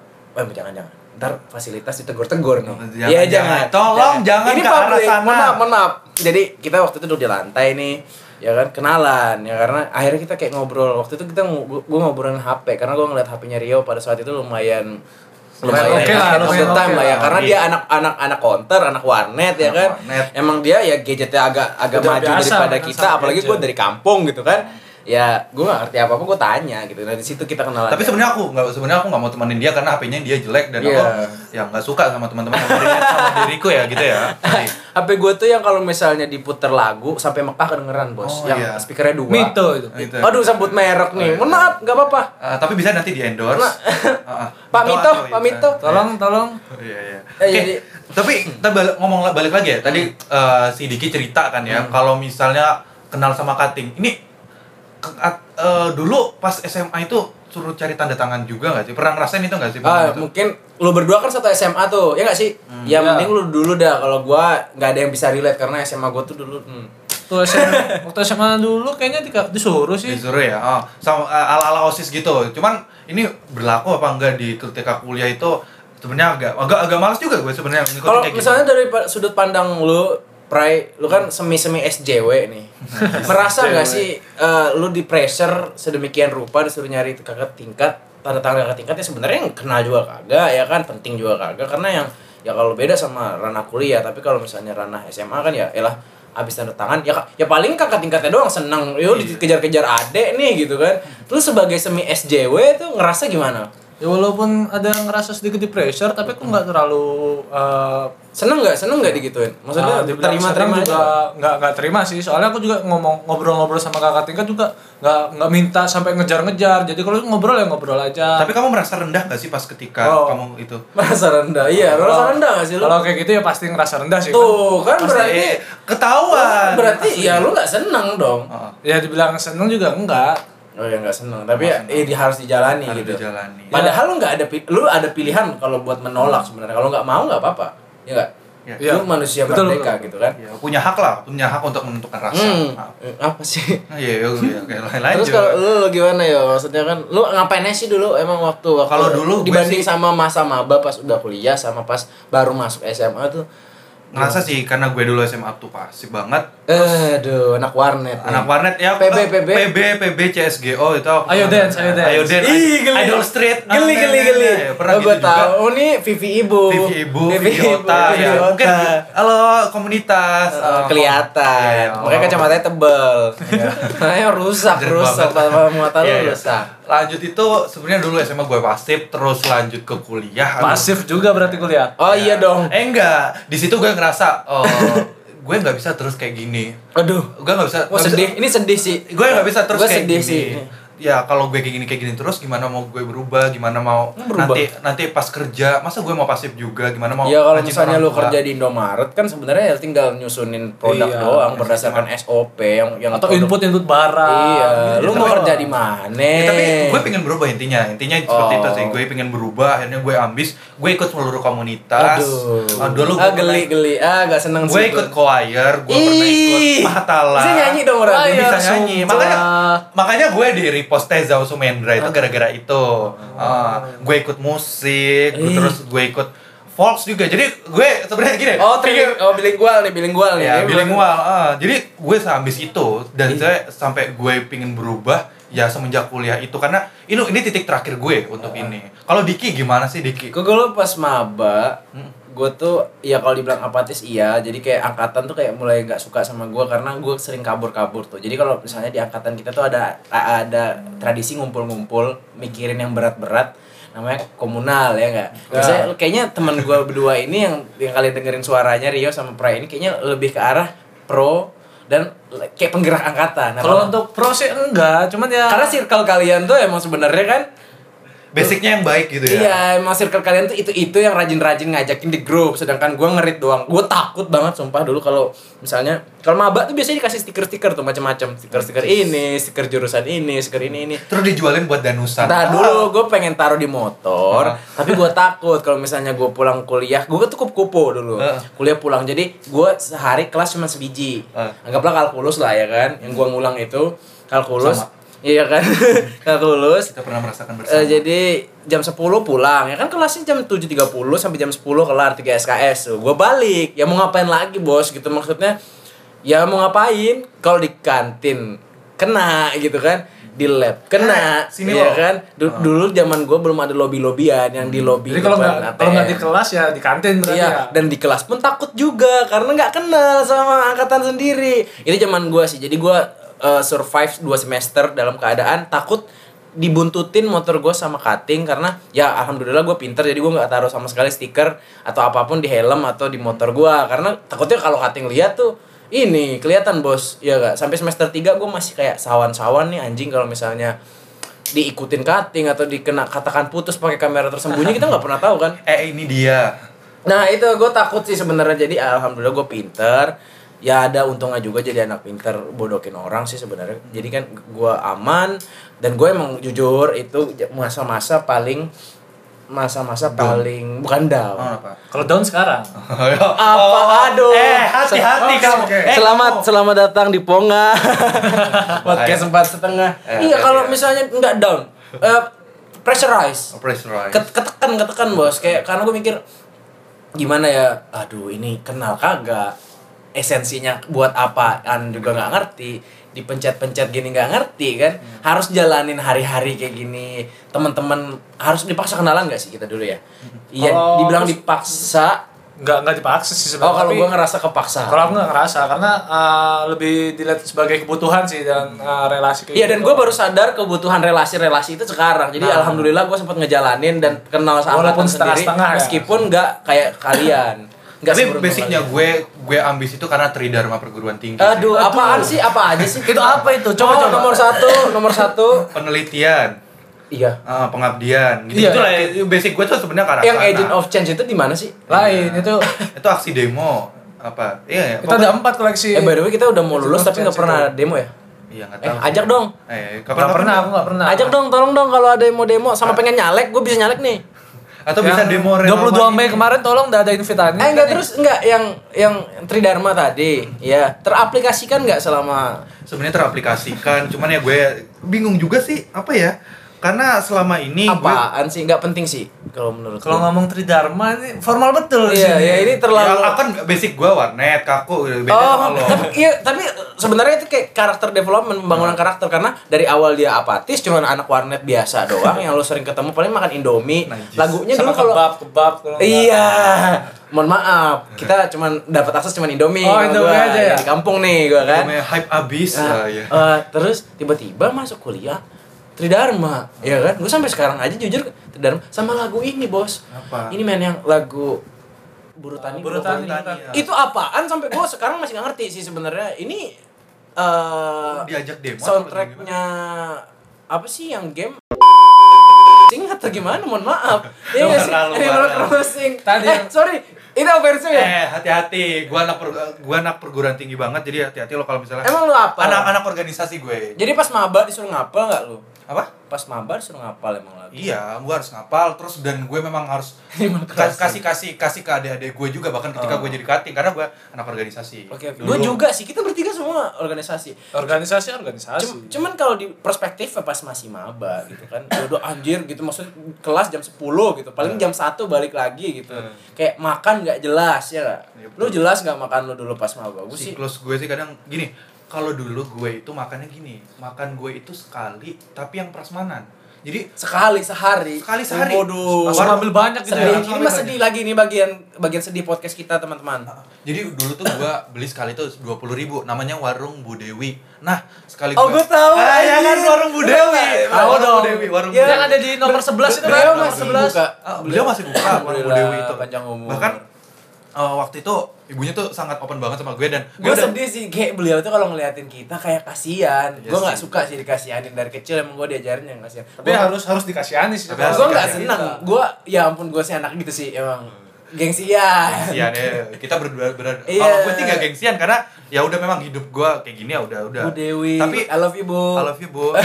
[SPEAKER 1] eh, jangan jangan ntar fasilitas ditegur-tegur nih Iya,
[SPEAKER 3] Jangan, jangan. Tolong jangan
[SPEAKER 1] ini
[SPEAKER 3] ke arah
[SPEAKER 1] public.
[SPEAKER 3] sana.
[SPEAKER 1] Mohon maaf, mohon maaf. Jadi kita waktu itu duduk di lantai nih ya kan kenalan ya karena akhirnya kita kayak ngobrol waktu itu kita ng- gua gua ngobrolin HP karena gua ngeliat HP-nya Rio pada saat itu lumayan lumayan
[SPEAKER 3] oke lah,
[SPEAKER 1] ahead of the
[SPEAKER 2] lumayan
[SPEAKER 1] time
[SPEAKER 2] oke
[SPEAKER 1] lah ya
[SPEAKER 3] lah.
[SPEAKER 1] karena dia
[SPEAKER 3] Iya.
[SPEAKER 1] anak anak anak counter anak warnet ya
[SPEAKER 3] Anak
[SPEAKER 1] kan
[SPEAKER 3] warnet.
[SPEAKER 1] emang dia ya gadgetnya agak agak
[SPEAKER 2] Udah
[SPEAKER 1] maju
[SPEAKER 2] biasa
[SPEAKER 1] daripada
[SPEAKER 2] dengan
[SPEAKER 1] kita
[SPEAKER 2] sama
[SPEAKER 1] apalagi
[SPEAKER 2] gadget.
[SPEAKER 1] gua dari kampung gitu kan ya gua gak ngerti apa apa gua tanya gitu nah di situ kita kenalan
[SPEAKER 3] Tapi sebenarnya aku nggak sebenarnya aku nggak mau temenin dia karena HP-nya dia jelek dan aku
[SPEAKER 1] Iya.
[SPEAKER 3] ya nggak suka sama teman-teman yang relate sama diriku ya gitu ya.
[SPEAKER 1] HP gue tuh yang kalau misalnya diputer lagu sampai Mekah kedengeran bos
[SPEAKER 3] Oh,
[SPEAKER 1] yang
[SPEAKER 3] iya.
[SPEAKER 1] speakernya dua
[SPEAKER 2] Mito Oh, iya. itu.
[SPEAKER 3] Gitu.
[SPEAKER 1] Aduh sambut merek nih. Mohon maaf, enggak apa-apa.
[SPEAKER 3] Eh, tapi bisa nanti Eh, di endorse.
[SPEAKER 1] Pak Mito, Pak Mito.
[SPEAKER 2] Tolong tolong.
[SPEAKER 3] Iya iya.
[SPEAKER 1] Eh,
[SPEAKER 3] Oke,
[SPEAKER 1] jadi- Hmm.
[SPEAKER 3] tapi kita bal- ngomong la- balik lagi ya. Tadi eh, si Diki cerita kan ya, kalau misalnya kenal sama Kating. Ini ke- at- eh, dulu pas SMA itu suruh cari tanda tangan juga nggak sih? Pernah ngerasain itu nggak sih?
[SPEAKER 1] Ah,
[SPEAKER 3] Pernah gitu?
[SPEAKER 1] mungkin lu berdua kan satu SMA tuh, ya gak sih? ya
[SPEAKER 2] Iya.
[SPEAKER 1] mending lu dulu dah kalau gua nggak ada yang bisa relate karena SMA gua tuh dulu hmm.
[SPEAKER 2] Tuh SMA, waktu SMA dulu kayaknya dika- disuruh sih.
[SPEAKER 3] Disuruh ya. Oh, sama eh, ala-ala OSIS gitu. Cuman ini berlaku apa enggak di ketika kuliah itu sebenarnya agak agak agak malas juga gue sebenarnya ngikutin
[SPEAKER 1] Kalau
[SPEAKER 3] kayak gitu.
[SPEAKER 1] misalnya dari pa- sudut pandang lu Pray, lu kan semi-semi SJW nih. Merasa nggak sih eh, lu di pressure sedemikian rupa disuruh nyari kakak tingkat, tanda tangan kakak tingkatnya sebenarnya yang kenal juga kagak ya kan, penting juga kagak karena yang ya kalau beda sama ranah kuliah, tapi kalau misalnya ranah SMA kan ya elah abis tanda tangan ya ka- ya paling kakak tingkatnya doang seneng yo dikejar-kejar adek nih gitu kan terus sebagai semi SJW tuh ngerasa gimana
[SPEAKER 2] Ya walaupun ada yang ngerasa sedikit di pressure tapi aku nggak terlalu eh,
[SPEAKER 1] seneng nggak seneng nggak digituin maksudnya
[SPEAKER 2] Nah, dibilang
[SPEAKER 1] terima
[SPEAKER 2] senang
[SPEAKER 1] terima
[SPEAKER 2] juga nggak nggak terima sih soalnya aku juga ngomong ngobrol-ngobrol sama kakak tingkat juga nggak nggak minta sampai ngejar-ngejar jadi kalau ngobrol ya ngobrol aja
[SPEAKER 3] Tapi kamu merasa rendah gak sih pas ketika
[SPEAKER 2] Oh.
[SPEAKER 3] kamu itu?
[SPEAKER 1] merasa rendah iya
[SPEAKER 2] Kalau-
[SPEAKER 1] merasa rendah gak sih lu
[SPEAKER 2] kalau kayak gitu ya pasti ngerasa rendah sih
[SPEAKER 1] tuh kan
[SPEAKER 3] Pasti,
[SPEAKER 1] berarti
[SPEAKER 3] eh, ketahuan. Oh.
[SPEAKER 1] berarti ya lu nggak seneng dong
[SPEAKER 3] Heeh.
[SPEAKER 2] ya dibilang seneng juga enggak
[SPEAKER 1] oh ya nggak seneng tapi ya eh, di- harus dijalani
[SPEAKER 3] Harus
[SPEAKER 1] gitu
[SPEAKER 3] dijalani. Hmm.
[SPEAKER 1] padahal lu nggak ada pi- lu ada pilihan kalau buat menolak sebenarnya kalau nggak mau nggak apa-apa ya nggak
[SPEAKER 3] Ya.
[SPEAKER 1] lu manusia
[SPEAKER 2] Betul,
[SPEAKER 1] merdeka
[SPEAKER 2] betul.
[SPEAKER 1] gitu kan
[SPEAKER 3] Ya, punya hak lah, punya hak untuk menentukan rasa.
[SPEAKER 1] hmm
[SPEAKER 3] Maaf.
[SPEAKER 1] eh, apa sih
[SPEAKER 3] Nah, Iya, iya, iya, oke, lain-lain
[SPEAKER 1] Terus
[SPEAKER 3] juga.
[SPEAKER 1] kalau lu, lu gimana ya? Maksudnya kan lu ngapain aja sih dulu emang waktu, waktu
[SPEAKER 3] Kalau dulu gue
[SPEAKER 1] dibanding
[SPEAKER 3] sih-
[SPEAKER 1] sama masa maba pas udah kuliah sama pas baru masuk SMA tuh
[SPEAKER 3] Ngerasa sih, karena gue dulu SMA tuh pasif banget.
[SPEAKER 1] eh aduh anak warnet. nih.
[SPEAKER 3] Anak warnet ya,
[SPEAKER 1] PB,
[SPEAKER 3] eh,
[SPEAKER 1] PB.
[SPEAKER 3] PB, PB, CSGO itu. aku-
[SPEAKER 2] Ayo dance, ayo dance.
[SPEAKER 3] Ayo dance,
[SPEAKER 1] Ih, geli.
[SPEAKER 3] Idol Street.
[SPEAKER 1] Geli,
[SPEAKER 3] Ah,
[SPEAKER 1] geli,
[SPEAKER 3] nah,
[SPEAKER 1] geli.
[SPEAKER 3] nah, nah, Pernah
[SPEAKER 1] oh,
[SPEAKER 3] gitu
[SPEAKER 1] gue
[SPEAKER 3] juga.
[SPEAKER 1] tahu. Oh, ini Vivi Ibu. Eh,
[SPEAKER 3] Vivi Ibu, Vivi Ota,
[SPEAKER 1] Vivi
[SPEAKER 3] ya.
[SPEAKER 1] Ota.
[SPEAKER 3] Mungkin kalau komunitas.
[SPEAKER 1] Eh,
[SPEAKER 3] eh,
[SPEAKER 1] kelihatan.
[SPEAKER 3] iya,
[SPEAKER 1] Makanya
[SPEAKER 3] oh.
[SPEAKER 1] kacamatanya tebel. Makanya rusak,
[SPEAKER 3] Anjir
[SPEAKER 1] rusak.
[SPEAKER 3] banget.
[SPEAKER 1] Mata mata
[SPEAKER 3] Iya,
[SPEAKER 1] lu
[SPEAKER 3] iya.
[SPEAKER 1] rusak.
[SPEAKER 3] Lanjut itu sebenarnya dulu SMA gue pasif, terus lanjut ke kuliah. Aduh,
[SPEAKER 2] pasif juga berarti kuliah
[SPEAKER 1] Oh iya dong.
[SPEAKER 3] Eh enggak, di situ gue ngerasa oh, gue nggak bisa terus kayak gini.
[SPEAKER 1] Aduh.
[SPEAKER 3] Gue nggak bisa.
[SPEAKER 1] Wah Oh,
[SPEAKER 3] nggak
[SPEAKER 1] sedih.
[SPEAKER 3] bisa-
[SPEAKER 1] Ini sedih sih.
[SPEAKER 3] Gue nggak bisa terus
[SPEAKER 1] Gua
[SPEAKER 3] kayak
[SPEAKER 1] sedih
[SPEAKER 3] gini.
[SPEAKER 1] sih.
[SPEAKER 3] Ya kalau gue kayak gini kayak gini terus gimana mau gue berubah, gimana mau
[SPEAKER 1] Berubah.
[SPEAKER 3] nanti nanti pas kerja, masa gue mau pasif juga, gimana mau
[SPEAKER 1] Ya kalau
[SPEAKER 3] ngancing
[SPEAKER 1] misalnya
[SPEAKER 3] orang
[SPEAKER 1] lu
[SPEAKER 3] tua.
[SPEAKER 1] kerja di Indomaret kan sebenarnya ya tinggal nyusunin produk
[SPEAKER 2] Iya.
[SPEAKER 1] doang berdasarkan SOP yang yang
[SPEAKER 2] atau
[SPEAKER 1] produk-
[SPEAKER 2] input input barang Gitu.
[SPEAKER 1] Iya, lu
[SPEAKER 3] Tapi
[SPEAKER 1] mau
[SPEAKER 3] kalau-
[SPEAKER 1] kerja ada di mana.
[SPEAKER 3] Gitu. Ya, tapi gue pengen berubah intinya intinya seperti
[SPEAKER 1] Eh. Oh.
[SPEAKER 3] itu sih gue pengen berubah akhirnya gue ambis gue ikut seluruh komunitas
[SPEAKER 1] Aduh.
[SPEAKER 3] Ah, dulu
[SPEAKER 1] ah,
[SPEAKER 3] gue
[SPEAKER 1] geli
[SPEAKER 3] pernah-
[SPEAKER 1] geli. Ah, gak seneng
[SPEAKER 3] gue
[SPEAKER 1] sih
[SPEAKER 3] ikut
[SPEAKER 1] gua.
[SPEAKER 3] choir gue pernah
[SPEAKER 1] Ih.
[SPEAKER 3] ikut mahatala
[SPEAKER 1] Bisa nyanyi dong orang
[SPEAKER 2] Choir.
[SPEAKER 3] bisa nyanyi
[SPEAKER 2] sumpah.
[SPEAKER 3] makanya makanya gue di repost Teza Sumendra itu gara-gara itu Ah, gue ikut musik gue
[SPEAKER 1] Ih.
[SPEAKER 3] terus gue ikut Folks juga jadi gue sebenarnya gini
[SPEAKER 1] Oh, iya, tri oh bilingual nih, bilingual nih.
[SPEAKER 3] ya
[SPEAKER 1] Ini
[SPEAKER 3] bilingual ah. jadi gue seambis itu dan saya sampai gue pingin berubah ya semenjak kuliah itu karena ini ini titik terakhir gue untuk
[SPEAKER 1] Ah.
[SPEAKER 3] ini kalau Diki gimana sih Diki
[SPEAKER 1] Gue dulu pas maba,
[SPEAKER 2] Hmm.
[SPEAKER 1] gue tuh ya kalau dibilang apatis iya. Jadi kayak angkatan tuh kayak mulai nggak suka sama gue karena gue sering kabur-kabur tuh. Jadi kalau misalnya di angkatan kita tuh ada ada tradisi ngumpul-ngumpul, mikirin yang berat-berat namanya komunal ya nggak Biasanya kayaknya teman gue berdua ini yang yang kalian dengerin suaranya Rio sama Pray ini kayaknya lebih ke arah pro dan le- kayak penggerak angkatan. Nah,
[SPEAKER 2] Kalau untuk pro sih enggak, cuman ya
[SPEAKER 1] karena circle kalian tuh emang sebenarnya kan
[SPEAKER 3] basicnya yang baik gitu ya
[SPEAKER 1] Iya, emang circle kalian tuh itu itu yang rajin-rajin ngajakin di grup, sedangkan gua ngerit doang. Gua takut banget sumpah dulu kalau misalnya kalau maba tuh biasanya dikasih stiker-stiker tuh macam-macam, stiker-stiker ini, stiker jurusan ini, stiker ini ini.
[SPEAKER 3] terus dijualin buat danusan
[SPEAKER 1] Nah dulu gue pengen taruh di motor, tapi gue takut kalau misalnya gue pulang kuliah, gue tuh kupu-kupu dulu.
[SPEAKER 3] Ah.
[SPEAKER 1] Kuliah pulang, jadi gue sehari kelas cuma sebiji.
[SPEAKER 3] Ah.
[SPEAKER 1] Anggaplah kalkulus lah ya kan, yang gue ngulang itu kalkulus.
[SPEAKER 3] Sama.
[SPEAKER 1] Iya kan, kalkulus.
[SPEAKER 3] kita pernah merasakan bersama
[SPEAKER 1] Eh, jadi jam 10 pulang ya kan kelasnya jam 7.30 sampai jam 10 kelar 3 SKS tuh. Gua balik. Ya mau ngapain lagi, Bos? Gitu maksudnya. Ya mau ngapain kalau di kantin kena gitu kan di lab kena
[SPEAKER 3] Kena, sini
[SPEAKER 1] ya
[SPEAKER 3] lo.
[SPEAKER 1] kan Du- dulu zaman gua belum ada lobby lobbyan yang di lobby
[SPEAKER 2] Oh. jadi kalau
[SPEAKER 1] depan
[SPEAKER 2] nggak kalau nggak di
[SPEAKER 1] ATM.
[SPEAKER 2] kelas ya di kantin berarti
[SPEAKER 1] Iya,
[SPEAKER 2] ya.
[SPEAKER 1] dan di kelas pun takut juga karena nggak kenal sama angkatan sendiri. Itu zaman gua sih. Jadi gua eh, survive 2 semester dalam keadaan takut dibuntutin motor gua sama cutting karena ya alhamdulillah gua pinter jadi gua nggak taruh sama sekali stiker atau apapun di helm atau di motor gua karena takutnya kalau cutting lihat tuh ini kelihatan bos ya gak sampai semester 3 gua masih kayak sawan-sawan nih anjing kalau misalnya diikutin cutting atau dikena katakan putus pakai kamera tersembunyi kita nggak pernah tahu kan
[SPEAKER 3] eh ini dia
[SPEAKER 1] Nah itu gue takut sih sebenarnya jadi alhamdulillah gue pinter ya ada untungnya juga jadi anak pinter bodokin orang sih sebenarnya jadi kan gue aman dan gue emang jujur itu masa-masa paling masa-masa paling bukan down
[SPEAKER 3] oh, iya. apa
[SPEAKER 2] Kalau down sekarang.
[SPEAKER 1] Oh, apa aduh
[SPEAKER 3] eh hati-hati
[SPEAKER 1] Sel-
[SPEAKER 3] kamu
[SPEAKER 2] oke.
[SPEAKER 3] Eh,
[SPEAKER 1] selamat selamat datang di Ponga oh. podcast empat setengah
[SPEAKER 3] Eh,
[SPEAKER 1] iya kalau
[SPEAKER 3] hati-hati.
[SPEAKER 1] misalnya nggak down eh, pressurize
[SPEAKER 3] oh, pressurize.
[SPEAKER 1] Ket- ketekan ketekan bos kayak karena gue mikir gimana ya aduh ini kenal kagak esensinya buat apaan juga nggak ngerti dipencet-pencet gini nggak ngerti kan
[SPEAKER 2] Hmm.
[SPEAKER 1] harus jalanin hari-hari kayak gini teman-teman harus dipaksa kenalan nggak sih kita dulu ya iya
[SPEAKER 2] Hmm. Kalau-
[SPEAKER 1] dibilang dipaksa
[SPEAKER 2] Nggak nggak dipaksa sih
[SPEAKER 1] oh
[SPEAKER 2] sebenarnya.
[SPEAKER 1] kalau
[SPEAKER 2] tapi
[SPEAKER 1] gue ngerasa kepaksa
[SPEAKER 2] kalau aku nggak ngerasa karena eh, lebih dilihat sebagai kebutuhan sih dan eh, relasi kayak
[SPEAKER 1] Iya dan
[SPEAKER 2] gitu.
[SPEAKER 1] gue baru sadar kebutuhan relasi-relasi itu sekarang. Jadi
[SPEAKER 2] Nah.
[SPEAKER 1] alhamdulillah gue sempat ngejalanin dan kenal sama angkatan
[SPEAKER 2] Walaupun
[SPEAKER 1] sendiri.
[SPEAKER 2] setengah-setengah ya.
[SPEAKER 1] Meskipun nggak kayak kalian. Nggak
[SPEAKER 3] tapi
[SPEAKER 1] seberuntung
[SPEAKER 3] basicnya
[SPEAKER 1] kalian.
[SPEAKER 3] gue gue ambis itu karena tridharma perguruan tinggi kan. sih.
[SPEAKER 1] Aduh, apaan sih? Apa aja sih?
[SPEAKER 2] Itu apa itu?
[SPEAKER 1] Oh,
[SPEAKER 2] Coba, coba.
[SPEAKER 1] nomor satu, nomor satu.
[SPEAKER 3] penelitian
[SPEAKER 1] Iya.
[SPEAKER 3] ah, pengabdian gitu
[SPEAKER 2] Iya.
[SPEAKER 3] itulah ya, basic gue tuh sebenarnya karena
[SPEAKER 1] Yang agent of change itu di mana sih? Iya.
[SPEAKER 2] lain itu
[SPEAKER 3] itu aksi demo apa iya ya,
[SPEAKER 2] kita ada empat koleksi.
[SPEAKER 1] Eh by the way kita udah mau
[SPEAKER 2] Agent
[SPEAKER 1] lulus
[SPEAKER 2] of
[SPEAKER 1] tapi nggak
[SPEAKER 2] Change
[SPEAKER 1] pernah
[SPEAKER 2] itu.
[SPEAKER 1] demo ya?
[SPEAKER 3] iya nggak
[SPEAKER 1] Eh
[SPEAKER 3] tahu
[SPEAKER 1] ajak dong.
[SPEAKER 3] eh kapan
[SPEAKER 2] Nggak pernah, aku nggak pernah.
[SPEAKER 1] Ajak dong, tolong dong kalau ada yang mau demo
[SPEAKER 2] Nah.
[SPEAKER 1] sama pengen nyalek, gue bisa nyalek nih.
[SPEAKER 3] atau bisa
[SPEAKER 2] Yang
[SPEAKER 3] demo
[SPEAKER 2] 22 Mei kemarin tolong udah ada invitannya.
[SPEAKER 1] Eh enggak terus enggak yang yang Tridharma tadi, ya teraplikasikan nggak selama
[SPEAKER 3] sebenarnya teraplikasikan cuman ya gue bingung juga sih apa ya karena selama ini gue
[SPEAKER 1] apaan sih? Nggak penting sih kalau menurut
[SPEAKER 2] Iya. Kalau
[SPEAKER 1] lu.
[SPEAKER 2] ngomong Tridharma ini formal betul
[SPEAKER 1] Iya,
[SPEAKER 2] sih.
[SPEAKER 1] ya ini terlalu
[SPEAKER 3] ya, kan basic gue warnet kaku beda sama
[SPEAKER 1] Oh,
[SPEAKER 3] lo
[SPEAKER 1] tapi iya, tapi sebenarnya itu kayak karakter development, pembangunan
[SPEAKER 2] Nah.
[SPEAKER 1] karakter karena dari awal dia apatis, cuman anak warnet biasa doang yang lu sering ketemu paling makan Indomie.
[SPEAKER 3] Najis.
[SPEAKER 1] Lagunya
[SPEAKER 2] Nah, Sama
[SPEAKER 1] dulu kalau
[SPEAKER 2] kebab, kebab kalau nggak-
[SPEAKER 1] Iya. Mohon maaf, kita cuman dapat akses cuman Indomie.
[SPEAKER 2] Oh,
[SPEAKER 1] sama
[SPEAKER 2] Indomie
[SPEAKER 1] gua.
[SPEAKER 2] aja ya?
[SPEAKER 1] Di kampung nih gua kan.
[SPEAKER 3] Namanya hype abis
[SPEAKER 1] Nah,
[SPEAKER 3] lah, ya.
[SPEAKER 1] eh, terus tiba-tiba masuk kuliah Tridharma, ya kan? Gue sampai sekarang aja jujur Tridharma sama lagu ini, Bos.
[SPEAKER 3] Apa?
[SPEAKER 1] Ini main yang lagu Burutani.
[SPEAKER 2] Burutani.
[SPEAKER 3] Tani, ya.
[SPEAKER 1] Itu apaan sampai gue sekarang masih nggak ngerti sih sebenarnya. Ini eh
[SPEAKER 3] diajak demo atau
[SPEAKER 1] soundtracknya apa sih yang game? Sing atau gimana? Mohon maaf. Iya nggak sih?
[SPEAKER 3] Luar, luar.
[SPEAKER 1] Animal Crossing.
[SPEAKER 2] Tadi
[SPEAKER 1] eh,
[SPEAKER 2] yang-
[SPEAKER 1] sorry. Itu offensive ya?
[SPEAKER 3] Eh, hati-hati. Gua anak per- gua anak perguruan tinggi banget jadi hati-hati lo kalau misalnya
[SPEAKER 1] Emang lu apa?
[SPEAKER 3] anak-anak organisasi gue.
[SPEAKER 1] Jadi pas maba disuruh ngapal nggak lu?
[SPEAKER 3] Apa?
[SPEAKER 1] Pas maba disuruh ngapal emang lagi.
[SPEAKER 3] Iya, gue harus ngapal terus dan gue memang harus kas- kasih kasih kasih ke adik-adik gue juga bahkan ketika gue jadi kating karena gue anak organisasi.
[SPEAKER 1] Oh. Oke, oke.
[SPEAKER 3] Dulu.
[SPEAKER 1] Gue juga sih, kita bertiga semua organisasi.
[SPEAKER 3] Iya
[SPEAKER 2] organisasi
[SPEAKER 1] Cuma-
[SPEAKER 2] organisasi
[SPEAKER 1] cuman kalau di perspektifnya pas masih maba gitu kan udah anjir gitu maksudnya kelas jam 10 gitu paling
[SPEAKER 3] Iya.
[SPEAKER 1] jam 1 balik lagi gitu
[SPEAKER 3] Hmm.
[SPEAKER 1] kayak makan nggak jelas ya nggak?
[SPEAKER 3] Iya,
[SPEAKER 1] lu jelas nggak makan lu dulu pas maba gue sih
[SPEAKER 3] Siklus gue sih kadang gini, kalau dulu gue itu makannya gini, makan gue itu sekali tapi yang prasmanan. Jadi
[SPEAKER 1] sekali sehari
[SPEAKER 3] Sekali sehari.
[SPEAKER 1] waduh
[SPEAKER 2] langsung ambil banyak gitu
[SPEAKER 1] sedih
[SPEAKER 2] ya
[SPEAKER 3] Langsung
[SPEAKER 1] ini
[SPEAKER 3] ambil Ah.
[SPEAKER 1] mas sedih lagi nih bagian bagian sedih podcast kita teman-teman
[SPEAKER 3] jadi dulu tuh gue beli sekali tuh dua puluh ribu, namanya warung Bu Dewi. Nah sekali
[SPEAKER 1] Oh,
[SPEAKER 3] gue
[SPEAKER 1] gua tahu,
[SPEAKER 3] ah, ya kan
[SPEAKER 1] anjir.
[SPEAKER 3] warung Bu
[SPEAKER 1] Gua tahu.
[SPEAKER 3] Dewi, Ah,
[SPEAKER 1] Tahu
[SPEAKER 3] warung
[SPEAKER 1] dong.
[SPEAKER 3] Bu Dewi, warung
[SPEAKER 1] Ya.
[SPEAKER 3] Bu
[SPEAKER 2] yang
[SPEAKER 3] Dewi.
[SPEAKER 2] ada di nomor 11 itu kan
[SPEAKER 1] beliau
[SPEAKER 2] nomor
[SPEAKER 1] masih buka.
[SPEAKER 2] 11
[SPEAKER 3] Ah, beliau masih buka warung Bu
[SPEAKER 1] Alhamdulillah,
[SPEAKER 3] Dewi itu.
[SPEAKER 1] panjang umur.
[SPEAKER 3] Bahkan eh, waktu itu ibunya tuh sangat open banget sama gue dan
[SPEAKER 1] gue
[SPEAKER 3] udah-
[SPEAKER 1] sedih sih kayak beliau tuh kalau ngeliatin kita kayak kasihan
[SPEAKER 3] Iya
[SPEAKER 1] gue nggak
[SPEAKER 3] sih. ya,
[SPEAKER 1] suka sih dikasihanin dari kecil emang gue diajarinnya nggak kasihan
[SPEAKER 2] tapi harus harus dikasihani sih
[SPEAKER 3] Tapi harus
[SPEAKER 1] gue nggak
[SPEAKER 3] dikasih
[SPEAKER 1] seneng gue ya ampun gue sih anak gitu sih emang gengsian
[SPEAKER 3] Iya deh, kita berdua berdua.
[SPEAKER 1] Iya.
[SPEAKER 3] Kalau gue sih gak gengsian karena ya udah memang hidup gue kayak gini ya udah udah.
[SPEAKER 1] Bu Dewi
[SPEAKER 3] Tapi
[SPEAKER 1] I love you
[SPEAKER 3] I
[SPEAKER 1] bu
[SPEAKER 3] love you bu.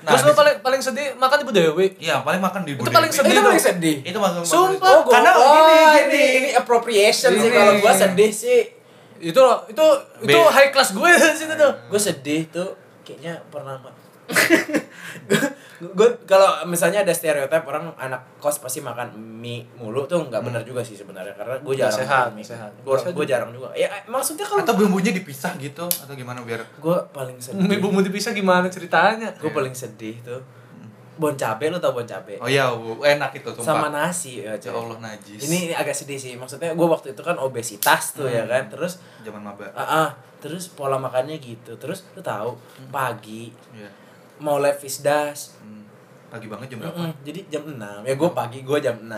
[SPEAKER 3] nah,
[SPEAKER 2] terus lu paling paling sedih makan ibu dewi
[SPEAKER 3] Iya paling makan di Bu
[SPEAKER 2] Itu paling
[SPEAKER 1] Eh,
[SPEAKER 3] Dewi.
[SPEAKER 2] sedih
[SPEAKER 1] itu
[SPEAKER 2] dong.
[SPEAKER 1] paling sedih
[SPEAKER 3] Itu makan
[SPEAKER 2] Sumpah.
[SPEAKER 1] oh gue
[SPEAKER 3] Karena
[SPEAKER 1] oh,
[SPEAKER 3] gini
[SPEAKER 1] ini,
[SPEAKER 3] gini.
[SPEAKER 1] ini appropriation sih
[SPEAKER 2] Gini.
[SPEAKER 1] kalau gue sedih sih
[SPEAKER 2] itu loh itu itu
[SPEAKER 3] Be-
[SPEAKER 2] high class gue di situ tuh
[SPEAKER 1] gue sedih tuh kayaknya pernah gue kalau misalnya ada stereotip orang anak kos pasti makan mie mulu tuh nggak benar
[SPEAKER 3] Hmm.
[SPEAKER 1] juga sih sebenarnya karena gue jarang
[SPEAKER 2] Sehat,
[SPEAKER 1] makan mie
[SPEAKER 2] sehat. Sehat
[SPEAKER 1] gue
[SPEAKER 2] juga.
[SPEAKER 1] jarang juga ya maksudnya kalau
[SPEAKER 3] Atau bumbunya dipisah gitu atau gimana biar
[SPEAKER 1] gue paling sedih
[SPEAKER 2] ibu mau dipisah gimana ceritanya
[SPEAKER 1] gue paling sedih tuh bon cabe lu tau bon cabe
[SPEAKER 3] Iya. Oh iya, Bu. enak itu
[SPEAKER 1] sama
[SPEAKER 3] sumpah.
[SPEAKER 1] nasi ya, cuy.
[SPEAKER 3] Ya Allah najis.
[SPEAKER 1] ini agak sedih sih maksudnya gue waktu itu kan obesitas tuh
[SPEAKER 3] Hmm.
[SPEAKER 1] ya kan terus
[SPEAKER 3] zaman maba.
[SPEAKER 1] ah ah, terus pola makannya gitu terus lu tahu
[SPEAKER 3] Hmm.
[SPEAKER 1] pagi
[SPEAKER 3] Iya.
[SPEAKER 1] mau live Fisdas
[SPEAKER 3] Hmm. Pagi banget jam berapa?
[SPEAKER 1] Mm-mm, jadi jam 6 ya gue pagi gue jam 6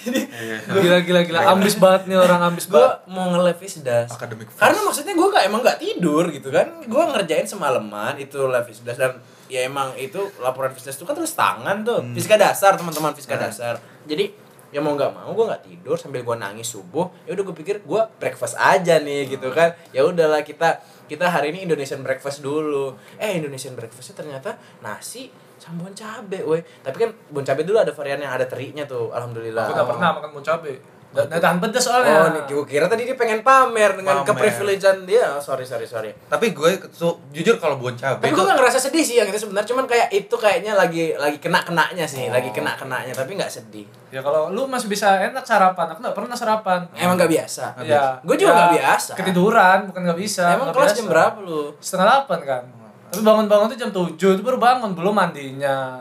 [SPEAKER 1] jadi
[SPEAKER 3] Iya.
[SPEAKER 2] gila gila gila ambis banget nih orang ambis
[SPEAKER 1] gue
[SPEAKER 2] banget
[SPEAKER 1] mau nge-live Fisdas
[SPEAKER 3] Academic first.
[SPEAKER 1] karena maksudnya gue kayak emang nggak tidur gitu kan gue ngerjain semalaman itu live Fisdas dan ya emang itu laporan Fisdas itu kan terus tangan tuh
[SPEAKER 3] Hmm.
[SPEAKER 1] fiska dasar teman-teman fiska
[SPEAKER 3] Nah.
[SPEAKER 1] dasar jadi ya mau nggak mau gue nggak tidur sambil gue nangis subuh ya udah gue pikir gue breakfast aja nih
[SPEAKER 3] Hmm.
[SPEAKER 1] gitu kan ya udahlah kita kita hari ini Indonesian breakfast dulu eh Indonesian breakfastnya ternyata nasi sama bon cabe weh tapi kan bon cabe dulu ada varian yang ada terinya tuh alhamdulillah
[SPEAKER 2] gue gak pernah makan mau cabe gak gak tahan pedes soalnya
[SPEAKER 1] Oh, nih, gue kira tadi dia pengen pamer dengan
[SPEAKER 3] Pamer.
[SPEAKER 1] keprivilegean dia. Oh, sorry, sorry, sorry.
[SPEAKER 3] Tapi gue so, jujur kalau bon cabe
[SPEAKER 1] Tapi
[SPEAKER 3] itu
[SPEAKER 1] gue
[SPEAKER 3] kan
[SPEAKER 1] gak ngerasa sedih sih yang itu sebenarnya, cuman kayak itu kayaknya lagi lagi kena kenanya sih,
[SPEAKER 3] Oh.
[SPEAKER 1] lagi kena kenanya, tapi nggak sedih.
[SPEAKER 2] ya kalau lu masih bisa enak sarapan aku gak pernah sarapan
[SPEAKER 1] Emang nggak biasa.
[SPEAKER 2] ya
[SPEAKER 1] Gua juga nggak biasa.
[SPEAKER 2] ketiduran bukan gak bisa
[SPEAKER 1] Emang
[SPEAKER 2] nggak
[SPEAKER 1] kelas
[SPEAKER 2] biasa.
[SPEAKER 1] jam berapa lu?
[SPEAKER 2] setengah delapan kan tapi bangun-bangun tuh jam tujuh itu baru bangun belum mandinya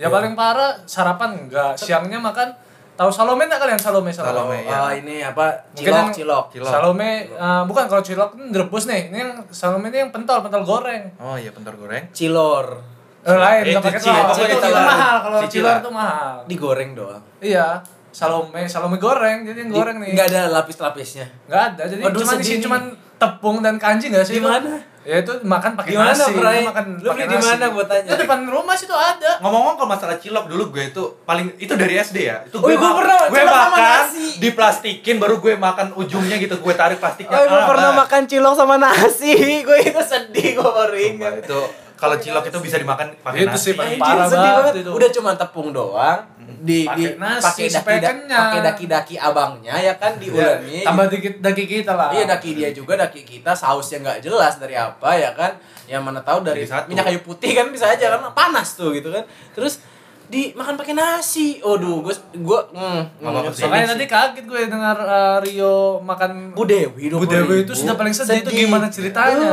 [SPEAKER 2] ya paling parah sarapan enggak siangnya makan tahu salome enggak kalian salome
[SPEAKER 3] Salome,
[SPEAKER 2] salome,
[SPEAKER 3] Iya.
[SPEAKER 1] Oh, ini apa?
[SPEAKER 2] Mungkin
[SPEAKER 1] Cilok,
[SPEAKER 2] yang-
[SPEAKER 1] cilok.
[SPEAKER 3] Cilok.
[SPEAKER 2] salome eh, bukan kalau cilok ini direbus nih ini yang salome ini yang pentol pentol goreng
[SPEAKER 3] Oh iya, pentar goreng.
[SPEAKER 1] Cilor.
[SPEAKER 2] Eh, lain
[SPEAKER 3] Eh,
[SPEAKER 2] nggak pakai
[SPEAKER 3] cicil,
[SPEAKER 2] telur
[SPEAKER 1] pokoknya
[SPEAKER 2] Itu- itu
[SPEAKER 1] cicilan.
[SPEAKER 2] mahal kalau
[SPEAKER 3] Cicilan.
[SPEAKER 2] cilor itu mahal
[SPEAKER 1] Digoreng doang.
[SPEAKER 2] iya salome salome goreng jadi yang goreng nih
[SPEAKER 1] Nggak ada lapis-lapisnya.
[SPEAKER 2] Nggak ada, jadi
[SPEAKER 1] Aduh,
[SPEAKER 2] cuma
[SPEAKER 1] sedih
[SPEAKER 2] isi
[SPEAKER 1] nih.
[SPEAKER 2] cuman tepung dan kanji nggak
[SPEAKER 1] Di
[SPEAKER 2] sih? itu?
[SPEAKER 1] mana?
[SPEAKER 2] Ya itu makan
[SPEAKER 1] Di
[SPEAKER 2] pakai
[SPEAKER 1] mana,
[SPEAKER 2] nasi.
[SPEAKER 1] Bray?
[SPEAKER 2] itu makan
[SPEAKER 1] Lu beli di mana gua tanya?
[SPEAKER 2] Itu depan rumah situ ada.
[SPEAKER 3] Ngomong-ngomong kalau masalah cilok dulu gue itu paling itu dari SD ya. Itu
[SPEAKER 1] Oh iya, gue
[SPEAKER 3] ma-
[SPEAKER 1] pernah,
[SPEAKER 3] gue
[SPEAKER 1] cilok sama
[SPEAKER 3] makan
[SPEAKER 1] nasi.
[SPEAKER 3] diplastikin baru gue makan ujungnya gitu, gue tarik plastiknya.
[SPEAKER 1] Oh, gue
[SPEAKER 3] Ah,
[SPEAKER 1] pernah
[SPEAKER 3] bah.
[SPEAKER 1] makan cilok sama nasi. gue itu sedih, gue baru
[SPEAKER 3] Sumpah,
[SPEAKER 1] ingat.
[SPEAKER 3] itu kalau cilok itu bisa dimakan pakai
[SPEAKER 2] Itu
[SPEAKER 3] nasi.
[SPEAKER 2] sih paling
[SPEAKER 1] Anjir,
[SPEAKER 2] parah
[SPEAKER 1] sedih
[SPEAKER 2] banget
[SPEAKER 1] banget.
[SPEAKER 2] itu.
[SPEAKER 1] Udah cuma tepung doang di
[SPEAKER 2] Pakai
[SPEAKER 1] di
[SPEAKER 2] nasi
[SPEAKER 1] pakai
[SPEAKER 2] supaya
[SPEAKER 1] daki
[SPEAKER 2] kenyang. Iya,
[SPEAKER 1] pakai daki-daki abangnya ya kan diuleni.
[SPEAKER 2] tambah dikit daging kita lah.
[SPEAKER 1] Iya daki dia juga daki kita sausnya nggak jelas dari apa ya kan. Yang mana tahu dari
[SPEAKER 3] Jadi satu.
[SPEAKER 1] minyak kayu putih kan bisa aja kan panas tuh gitu kan. Terus dimakan pakai nasi. Aduh, gue gue mm,
[SPEAKER 3] Nggak apa-apa sih.
[SPEAKER 2] Makanya tadi kaget gue dengar eh, Rio makan
[SPEAKER 1] Bu Dewi
[SPEAKER 2] Bu Dewi itu sudah paling sedih, itu gimana ceritanya?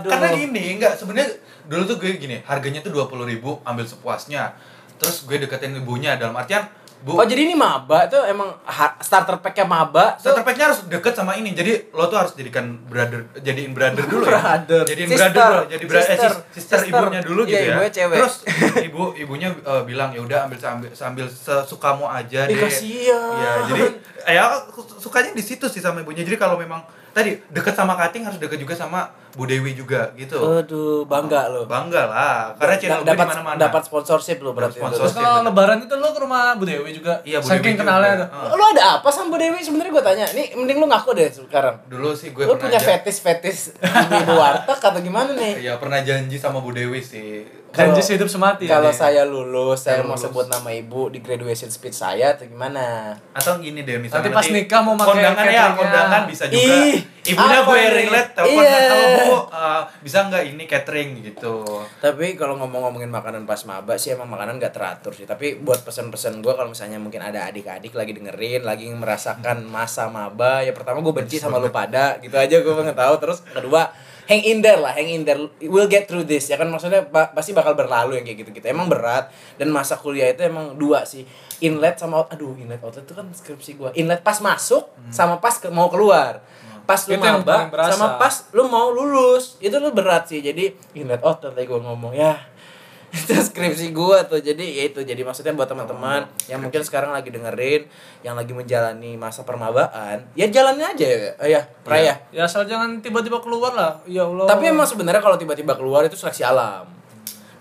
[SPEAKER 1] Aduh.
[SPEAKER 3] Karena gini, enggak sebenarnya dulu tuh gue gini, harganya tuh 20.000 ribu ambil sepuasnya. Terus gue deketin ibunya dalam artian Bu,
[SPEAKER 1] Oh jadi ini maba tuh emang ha- starter packnya maba tuh
[SPEAKER 3] starter pack-nya harus deket sama ini. Jadi lo tuh harus jadikan brother, jadiin brother dulu ya.
[SPEAKER 1] Brother.
[SPEAKER 3] Jadiin
[SPEAKER 1] Sister.
[SPEAKER 3] brother dulu, jadi brother sister.
[SPEAKER 1] Sister.
[SPEAKER 3] sister,
[SPEAKER 1] Sister.
[SPEAKER 3] ibunya dulu
[SPEAKER 1] Iya,
[SPEAKER 3] gitu ya.
[SPEAKER 1] ibunya cewek.
[SPEAKER 3] Terus ibu ibunya eh, bilang ya udah ambil sambil sambil sesukamu aja
[SPEAKER 1] Ih,
[SPEAKER 3] deh.
[SPEAKER 1] kasihan.
[SPEAKER 3] Iya, jadi ya sukanya di situ sih sama ibunya. Jadi kalau memang tadi deket sama kating harus deket juga sama Bu Dewi
[SPEAKER 1] Oh,
[SPEAKER 3] juga gitu.
[SPEAKER 1] Aduh, bangga lo.
[SPEAKER 3] Bangga lah, karena channel gue
[SPEAKER 1] dapat
[SPEAKER 3] di mana-mana.
[SPEAKER 1] dapat sponsorship lo berarti.
[SPEAKER 3] Dapat
[SPEAKER 2] Terus
[SPEAKER 3] sponsor.
[SPEAKER 1] Sponsor.
[SPEAKER 2] kalau
[SPEAKER 3] Pasti.
[SPEAKER 2] lebaran itu lo ke rumah Bu Dewi juga.
[SPEAKER 3] Iya, Bu
[SPEAKER 2] Saking
[SPEAKER 3] Dewi juga.
[SPEAKER 2] kenalnya tuh.
[SPEAKER 3] Heeh.
[SPEAKER 1] Lo ada apa sama Bu Dewi? Sebenarnya gue tanya. Nih, mending lo ngaku deh sekarang.
[SPEAKER 3] Dulu sih gue
[SPEAKER 1] Lo punya
[SPEAKER 3] aja-
[SPEAKER 1] fetis-fetis ibu warteg atau gimana nih?
[SPEAKER 3] Iya, pernah janji sama Bu Dewi sih.
[SPEAKER 2] Janji
[SPEAKER 1] Kalau-
[SPEAKER 2] hidup semati. ya,
[SPEAKER 1] Kalau
[SPEAKER 2] Jadi.
[SPEAKER 1] saya lulus, saya mau
[SPEAKER 3] Kalau iya, lulus.
[SPEAKER 1] sebut nama ibu di graduation speech saya atau gimana?
[SPEAKER 3] Atau gini deh
[SPEAKER 2] Nanti
[SPEAKER 3] misalnya
[SPEAKER 2] pas nikah mau pakai
[SPEAKER 3] kondangan ya,
[SPEAKER 2] cateringnya.
[SPEAKER 3] kondangan bisa juga.
[SPEAKER 1] Ih,
[SPEAKER 3] Ibunya
[SPEAKER 1] apa
[SPEAKER 3] gue
[SPEAKER 1] nih?
[SPEAKER 3] relate telepon
[SPEAKER 1] Iya.
[SPEAKER 3] kalau Bu eh, bisa nggak ini catering gitu.
[SPEAKER 1] Tapi kalau ngomong-ngomongin makanan pas maba sih emang makanan gak teratur sih. Tapi buat pesan-pesan gue kalau misalnya mungkin ada adik-adik lagi dengerin, lagi merasakan masa maba, ya pertama gue benci sama lu pada, gitu aja gue pengen tahu. Terus kedua, hang in there lah, hang in there. We'll get through this. Ya kan maksudnya ba- pasti bakal berlalu yang kayak gitu-gitu. Emang berat dan masa kuliah itu emang dua sih. Inlet sama out- aduh, inlet outlet itu kan skripsi gue. Inlet pas masuk sama pas ke- mau keluar. Pas lu
[SPEAKER 2] Hmm. Itu yang
[SPEAKER 1] maba
[SPEAKER 2] paling berasa.
[SPEAKER 1] sama pas lu mau lulus itu lu berat sih jadi inlet oh tadi gue ngomong ya itu skripsi gue tuh jadi ya itu jadi maksudnya buat teman-teman yang mungkin sekarang lagi dengerin yang lagi menjalani masa permabaan ya jalannya aja ya eh, ya Pra, ya.
[SPEAKER 2] Ya asal jangan tiba-tiba keluar lah. Ya Allah.
[SPEAKER 1] tapi emang sebenarnya kalau tiba-tiba keluar itu seleksi alam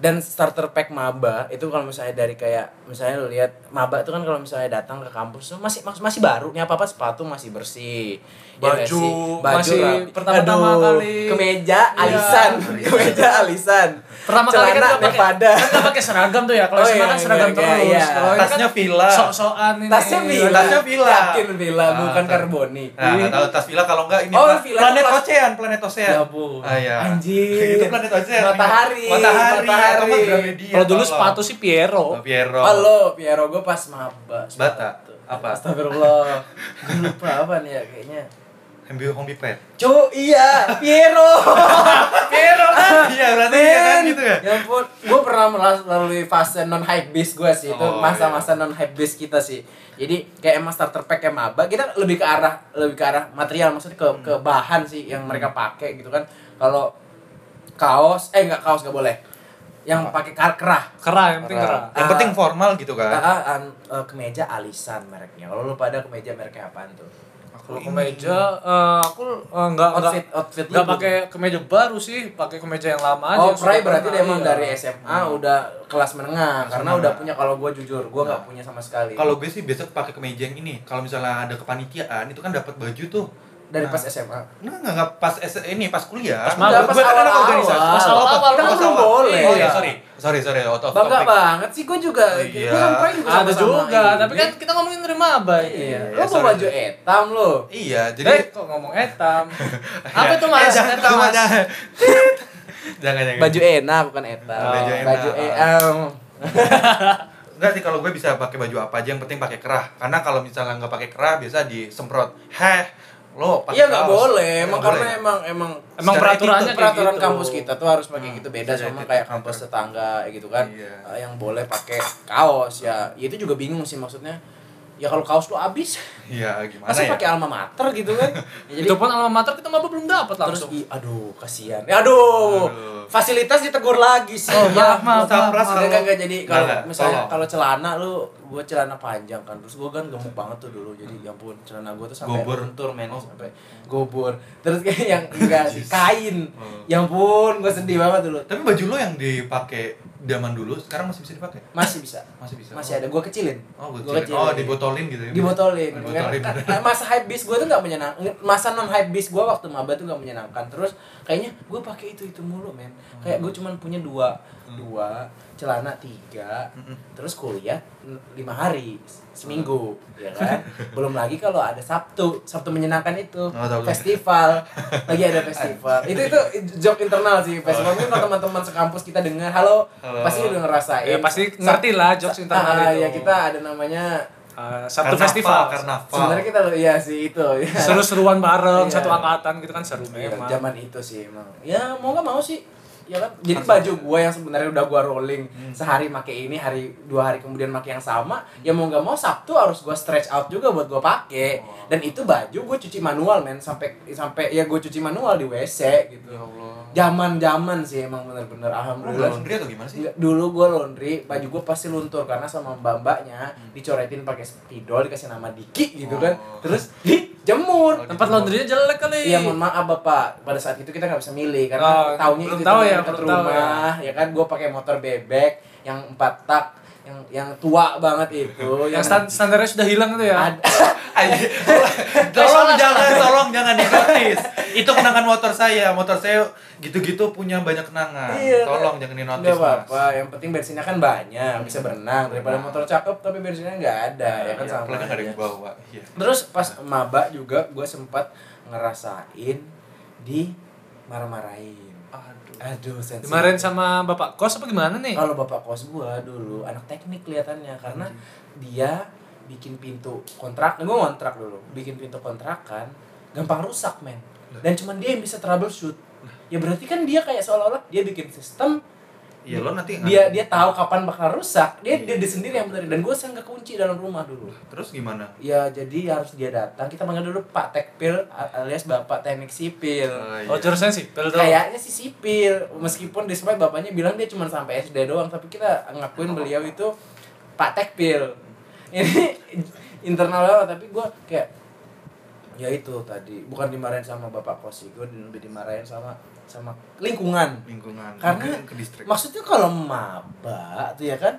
[SPEAKER 1] dan starter pack maba itu kalau misalnya dari kayak misalnya lu lihat maba itu kan kalau misalnya datang ke kampus tuh masih mas- masih baru nih apa apa sepatu masih bersih Ya nggak
[SPEAKER 2] Baju,
[SPEAKER 1] sih?
[SPEAKER 2] masih
[SPEAKER 1] rapi.
[SPEAKER 2] pertama-tama
[SPEAKER 1] Aduh,
[SPEAKER 2] kali.
[SPEAKER 1] kemeja
[SPEAKER 2] Iya.
[SPEAKER 1] alisan kemeja alisan
[SPEAKER 2] pertama kali kan
[SPEAKER 1] celana
[SPEAKER 2] nggak pakai
[SPEAKER 1] Nevada.
[SPEAKER 2] kan nggak pakai seragam tuh ya. Kalau
[SPEAKER 1] Oh,
[SPEAKER 2] SMA
[SPEAKER 1] iya,
[SPEAKER 2] kan seragam
[SPEAKER 1] iya,
[SPEAKER 2] terus.
[SPEAKER 1] iya.
[SPEAKER 2] Kalau ini kan
[SPEAKER 3] Tasnya villa.
[SPEAKER 2] Sok-sokan ini.
[SPEAKER 1] tasnya villa
[SPEAKER 3] Tasnya villa.
[SPEAKER 1] yakin villa
[SPEAKER 3] Ah,
[SPEAKER 1] bukan
[SPEAKER 3] tas-
[SPEAKER 1] karboni
[SPEAKER 2] Ah, iya.
[SPEAKER 3] Nah, nggak tahu tas villa kalau nggak ini
[SPEAKER 1] Oh,
[SPEAKER 3] pla-
[SPEAKER 1] villa
[SPEAKER 3] planet
[SPEAKER 1] itu plas-
[SPEAKER 3] Ocean, planet Ocean.
[SPEAKER 1] Ya, Bu.
[SPEAKER 3] Ah, iya.
[SPEAKER 1] Anjir.
[SPEAKER 2] kan
[SPEAKER 3] Itu planet Ocean.
[SPEAKER 1] Matahari,
[SPEAKER 3] Matahari.
[SPEAKER 1] matahari.
[SPEAKER 3] atau nggak Gramedia,
[SPEAKER 2] Kalau dulu
[SPEAKER 3] Iya, tolong.
[SPEAKER 2] sepatu sih Piero.
[SPEAKER 3] Oh, Piero.
[SPEAKER 1] Halo, Piero gue pas maba.
[SPEAKER 3] Bata.
[SPEAKER 1] sepatu.
[SPEAKER 3] Apa?
[SPEAKER 1] Astagfirullah. Gue lupa apa nih ya kayaknya.
[SPEAKER 3] Hombi Hombi Pet.
[SPEAKER 1] Cu, iya, Piero.
[SPEAKER 3] Piero kan? Iya, berarti iya kan gitu ya.
[SPEAKER 1] Ya ampun, gue pernah melas- melalui fase non hype beast gue sih. Itu
[SPEAKER 3] Oh,
[SPEAKER 1] masa-masa non hype beast kita sih. Jadi kayak emang starter pack kayak maba, kita lebih ke arah lebih ke arah material maksudnya ke ke
[SPEAKER 3] Hmm.
[SPEAKER 1] bahan sih yang mereka pakai gitu kan. Kalau kaos, eh nggak kaos nggak boleh. Yang pakai kar- kerah.
[SPEAKER 2] Kerah yang penting kerah.
[SPEAKER 3] Yang
[SPEAKER 1] Ah.
[SPEAKER 3] penting formal gitu
[SPEAKER 1] Ah,
[SPEAKER 3] kan.
[SPEAKER 1] ah, an- eh, kemeja alisan mereknya. Kalau lu pada kemeja mereknya apaan tuh?
[SPEAKER 2] Kalau kemeja eh, aku eh, nggak nggak
[SPEAKER 1] Outfit outfit lu
[SPEAKER 2] nggak
[SPEAKER 1] tuh.
[SPEAKER 2] pakai kemeja baru sih, pakai kemeja yang lama aja.
[SPEAKER 1] Oh,
[SPEAKER 2] yang
[SPEAKER 1] Prai
[SPEAKER 2] sudah
[SPEAKER 1] berarti
[SPEAKER 2] pernah,
[SPEAKER 1] emang
[SPEAKER 2] iya.
[SPEAKER 1] dari SMA udah kelas menengah karena
[SPEAKER 3] menengah.
[SPEAKER 1] udah punya kalau gue jujur, gue nggak punya sama sekali.
[SPEAKER 3] Kalau gue sih biasa pakai kemeja yang ini. Kalau misalnya ada kepanitiaan itu kan dapat baju tuh.
[SPEAKER 1] dari
[SPEAKER 3] Nah.
[SPEAKER 1] pas SMA.
[SPEAKER 3] Nah, nggak nggak pas S- ini pas kuliah.
[SPEAKER 2] Pas maba.
[SPEAKER 3] Gue kan anak
[SPEAKER 1] Pas
[SPEAKER 3] organisasi.
[SPEAKER 1] awal-awal.
[SPEAKER 3] Pas awal-awal,
[SPEAKER 2] Kita
[SPEAKER 3] pas
[SPEAKER 2] kan
[SPEAKER 1] belum
[SPEAKER 3] awal-awal.
[SPEAKER 1] boleh.
[SPEAKER 3] Oh iya, sorry. Sorry, sorry. Out of
[SPEAKER 1] Bangga
[SPEAKER 3] topic.
[SPEAKER 1] banget sih gue juga.
[SPEAKER 3] Oh,
[SPEAKER 1] Gue
[SPEAKER 3] iya.
[SPEAKER 1] sama Prai juga
[SPEAKER 2] Ada
[SPEAKER 1] sama-sama.
[SPEAKER 2] juga,
[SPEAKER 1] Iya.
[SPEAKER 2] tapi kan kita ngomongin nerima apa
[SPEAKER 1] iya.
[SPEAKER 2] ini.
[SPEAKER 1] Lo
[SPEAKER 3] Iya,
[SPEAKER 1] mau
[SPEAKER 3] sorry.
[SPEAKER 1] baju etam lo.
[SPEAKER 3] Iya, jadi
[SPEAKER 2] Eh, kok ngomong etam?
[SPEAKER 1] Iya.
[SPEAKER 2] Apa
[SPEAKER 3] Ya.
[SPEAKER 2] itu mas?
[SPEAKER 3] Eh, jangan
[SPEAKER 2] Etam,
[SPEAKER 3] tahu
[SPEAKER 2] Mas.
[SPEAKER 3] ada. jangan jangan.
[SPEAKER 1] Baju E. enak bukan etam.
[SPEAKER 3] Oh, Iya. baju enak.
[SPEAKER 1] Baju etam.
[SPEAKER 3] Enggak sih kalau gue bisa pakai baju apa aja yang penting pakai kerah. Karena kalau misalnya nggak pakai kerah biasa disemprot. Heh, lo pakai
[SPEAKER 1] Iya nggak
[SPEAKER 3] kaos.
[SPEAKER 1] boleh, emang
[SPEAKER 3] Nggak
[SPEAKER 1] karena
[SPEAKER 3] boleh.
[SPEAKER 1] emang emang
[SPEAKER 2] Emang
[SPEAKER 3] Secara
[SPEAKER 2] peraturannya
[SPEAKER 1] itu
[SPEAKER 2] kayak
[SPEAKER 1] peraturan
[SPEAKER 2] gitu.
[SPEAKER 1] kampus kita tuh harus pakai
[SPEAKER 3] Hmm,
[SPEAKER 1] gitu beda
[SPEAKER 3] secara
[SPEAKER 1] sama
[SPEAKER 3] etika
[SPEAKER 1] kayak
[SPEAKER 3] kantor.
[SPEAKER 1] kampus tetangga gitu kan
[SPEAKER 3] Iya.
[SPEAKER 1] Eh, yang boleh pakai kaos ya itu juga bingung sih maksudnya ya kalau kaos lu habis
[SPEAKER 3] Iya, gimana
[SPEAKER 1] masa
[SPEAKER 3] ya?
[SPEAKER 1] pakai alma mater gitu kan ya,
[SPEAKER 2] Itu pun alma mater kita maba belum dapat
[SPEAKER 1] terus
[SPEAKER 2] langsung.
[SPEAKER 1] i- aduh kasihan Ya, aduh,
[SPEAKER 3] Aduh.
[SPEAKER 1] fasilitas ditegur lagi sih
[SPEAKER 2] Oh, maaf,
[SPEAKER 1] Nggak,
[SPEAKER 2] maaf,
[SPEAKER 3] maaf,
[SPEAKER 1] nggak,
[SPEAKER 3] maaf.
[SPEAKER 1] nggak, nggak, jadi iya, kalau
[SPEAKER 3] Nggak, nggak,
[SPEAKER 1] misalnya
[SPEAKER 3] tolong.
[SPEAKER 1] kalau celana lu gue celana panjang kan terus gue kan gemuk banget tuh dulu jadi ya ampun celana gue tuh sampai
[SPEAKER 3] Gobur.
[SPEAKER 1] luntur men
[SPEAKER 3] Oh.
[SPEAKER 1] sampai gobur terus kayak yang enggak sih
[SPEAKER 3] Yes.
[SPEAKER 1] kain
[SPEAKER 3] Oh.
[SPEAKER 1] ya ampun gue sedih banget dulu
[SPEAKER 3] Tapi baju lo yang dipakai zaman dulu sekarang masih bisa dipakai?
[SPEAKER 1] masih bisa
[SPEAKER 3] Masih bisa.
[SPEAKER 1] masih ada gue kecilin
[SPEAKER 3] Oh, gue
[SPEAKER 1] Gua
[SPEAKER 3] kecil. Oh, dibotolin gitu ya.
[SPEAKER 1] dibotolin.
[SPEAKER 3] Dibotolin.
[SPEAKER 1] Karena masa hype beast gue tuh nggak menyenangkan. Masa non hype beast gue waktu maba tuh nggak menyenangkan. Terus kayaknya gue pakai itu itu mulu men. Kayak gue cuman punya dua,
[SPEAKER 2] Hmm.
[SPEAKER 1] dua celana tiga,
[SPEAKER 3] Mm-mm.
[SPEAKER 1] terus kuliah mm, lima hari seminggu,
[SPEAKER 2] Hmm.
[SPEAKER 1] ya kan? Belum lagi kalau ada Sabtu, Sabtu menyenangkan itu
[SPEAKER 3] Oh, tahu gue.
[SPEAKER 1] festival, lagi ada festival. itu itu joke internal sih
[SPEAKER 2] Oh.
[SPEAKER 1] festival. Mungkin kalau teman-teman sekampus kita dengar, halo,
[SPEAKER 3] Halo.
[SPEAKER 1] pasti udah ngerasain.
[SPEAKER 2] Ya, pasti
[SPEAKER 1] Sa-
[SPEAKER 2] ngerti lah jokes
[SPEAKER 1] sa-
[SPEAKER 2] internal
[SPEAKER 1] ah,
[SPEAKER 2] itu.
[SPEAKER 1] Ya kita ada namanya
[SPEAKER 2] Eh, Sabtu
[SPEAKER 3] Karnaval,
[SPEAKER 2] festival.
[SPEAKER 3] Karnaval.
[SPEAKER 1] sebenarnya kita lo iya sih itu ya.
[SPEAKER 2] Seru-seruan bareng,
[SPEAKER 1] Iya.
[SPEAKER 2] satu angkatan gitu kan seru
[SPEAKER 1] Iya,
[SPEAKER 2] memang.
[SPEAKER 1] zaman itu sih emang ya mau nggak mau sih ya kan jadi baju gua yang sebenarnya udah gua rolling
[SPEAKER 2] Hmm.
[SPEAKER 1] sehari make ini hari dua hari kemudian make yang sama ya mau nggak mau sabtu harus gua stretch out juga buat gua pakai
[SPEAKER 2] Oh.
[SPEAKER 1] dan itu baju gua cuci manual men sampai sampai ya gua cuci manual di wc gitu
[SPEAKER 3] Ya Allah.
[SPEAKER 1] Zaman-zaman sih emang bener-bener alhamdulillah.
[SPEAKER 3] laundry atau gimana sih?
[SPEAKER 1] Nggak, dulu gue laundry, baju gue pasti luntur karena sama mbak-mbaknya dicoretin pakai spidol dikasih nama Diki gitu kan.
[SPEAKER 3] Oh.
[SPEAKER 1] Terus dijemur.
[SPEAKER 2] Tempat laundrynya jelek kali.
[SPEAKER 1] Iya mohon maaf bapak, pada saat itu kita nggak bisa milih karena
[SPEAKER 2] Oh,
[SPEAKER 1] taunya
[SPEAKER 2] belum
[SPEAKER 1] itu
[SPEAKER 2] tahu
[SPEAKER 1] teman
[SPEAKER 2] ya,
[SPEAKER 1] dekat
[SPEAKER 2] belum tahu
[SPEAKER 1] rumah, ya, kan gue pakai motor bebek yang empat tak yang yang tua banget itu
[SPEAKER 2] Yang stan- standarnya sudah hilang itu ya.
[SPEAKER 1] ada
[SPEAKER 3] Anjir. tolong jangan, tolong jangan dinotis. Itu kenangan motor saya, motor saya gitu-gitu punya banyak kenangan.
[SPEAKER 1] Iya,
[SPEAKER 3] tolong jangan dinotis.
[SPEAKER 1] nggak
[SPEAKER 3] Mas.
[SPEAKER 1] apa-apa yang penting bensinnya kan banyak bisa berenang daripada motor cakep tapi bensinnya nggak ada ya kan
[SPEAKER 3] Iya,
[SPEAKER 1] sama
[SPEAKER 3] apalagi nggak ada
[SPEAKER 1] aja.
[SPEAKER 3] yang bawa. Iya.
[SPEAKER 1] Terus pas maba juga gue sempat ngerasain di marah-marahin.
[SPEAKER 3] Aduh.
[SPEAKER 1] Aduh, sensitif.
[SPEAKER 2] Kemarin sama bapak kos apa gimana nih?
[SPEAKER 1] kalau bapak kos gue dulu anak teknik kelihatannya karena dia bikin pintu kontrak, gue kontrak dulu, bikin pintu kontrakan gampang rusak men. Dan cuman dia yang bisa troubleshoot. Ya berarti kan dia kayak seolah-olah dia bikin sistem
[SPEAKER 3] Iya, lo nanti
[SPEAKER 1] dia dia tahu kapan bakal rusak dia dia,
[SPEAKER 3] Iya.
[SPEAKER 1] dia sendiri yang benerin dan gue sang kekunci dalam rumah dulu
[SPEAKER 3] terus gimana?
[SPEAKER 1] Ya jadi harus dia datang. Kita panggil dulu Pak Tekpil alias Bapak Teknik Sipil.
[SPEAKER 3] Eh,
[SPEAKER 2] Oh,
[SPEAKER 3] iya.
[SPEAKER 2] jurusan sipil dong.
[SPEAKER 1] Kayaknya sih sipil, meskipun di sempat bapaknya bilang dia cuma sampai SD doang, tapi kita ngakuin beliau itu Pak Tekpil. Ini internal banget, tapi gue kayak ya itu tadi bukan dimarahin sama bapak kos sih, gue lebih dimarahin sama sama lingkungan
[SPEAKER 3] lingkungan
[SPEAKER 1] karena
[SPEAKER 3] mungkin ke distrik. Hmm,
[SPEAKER 1] maksudnya kalau maba tuh ya kan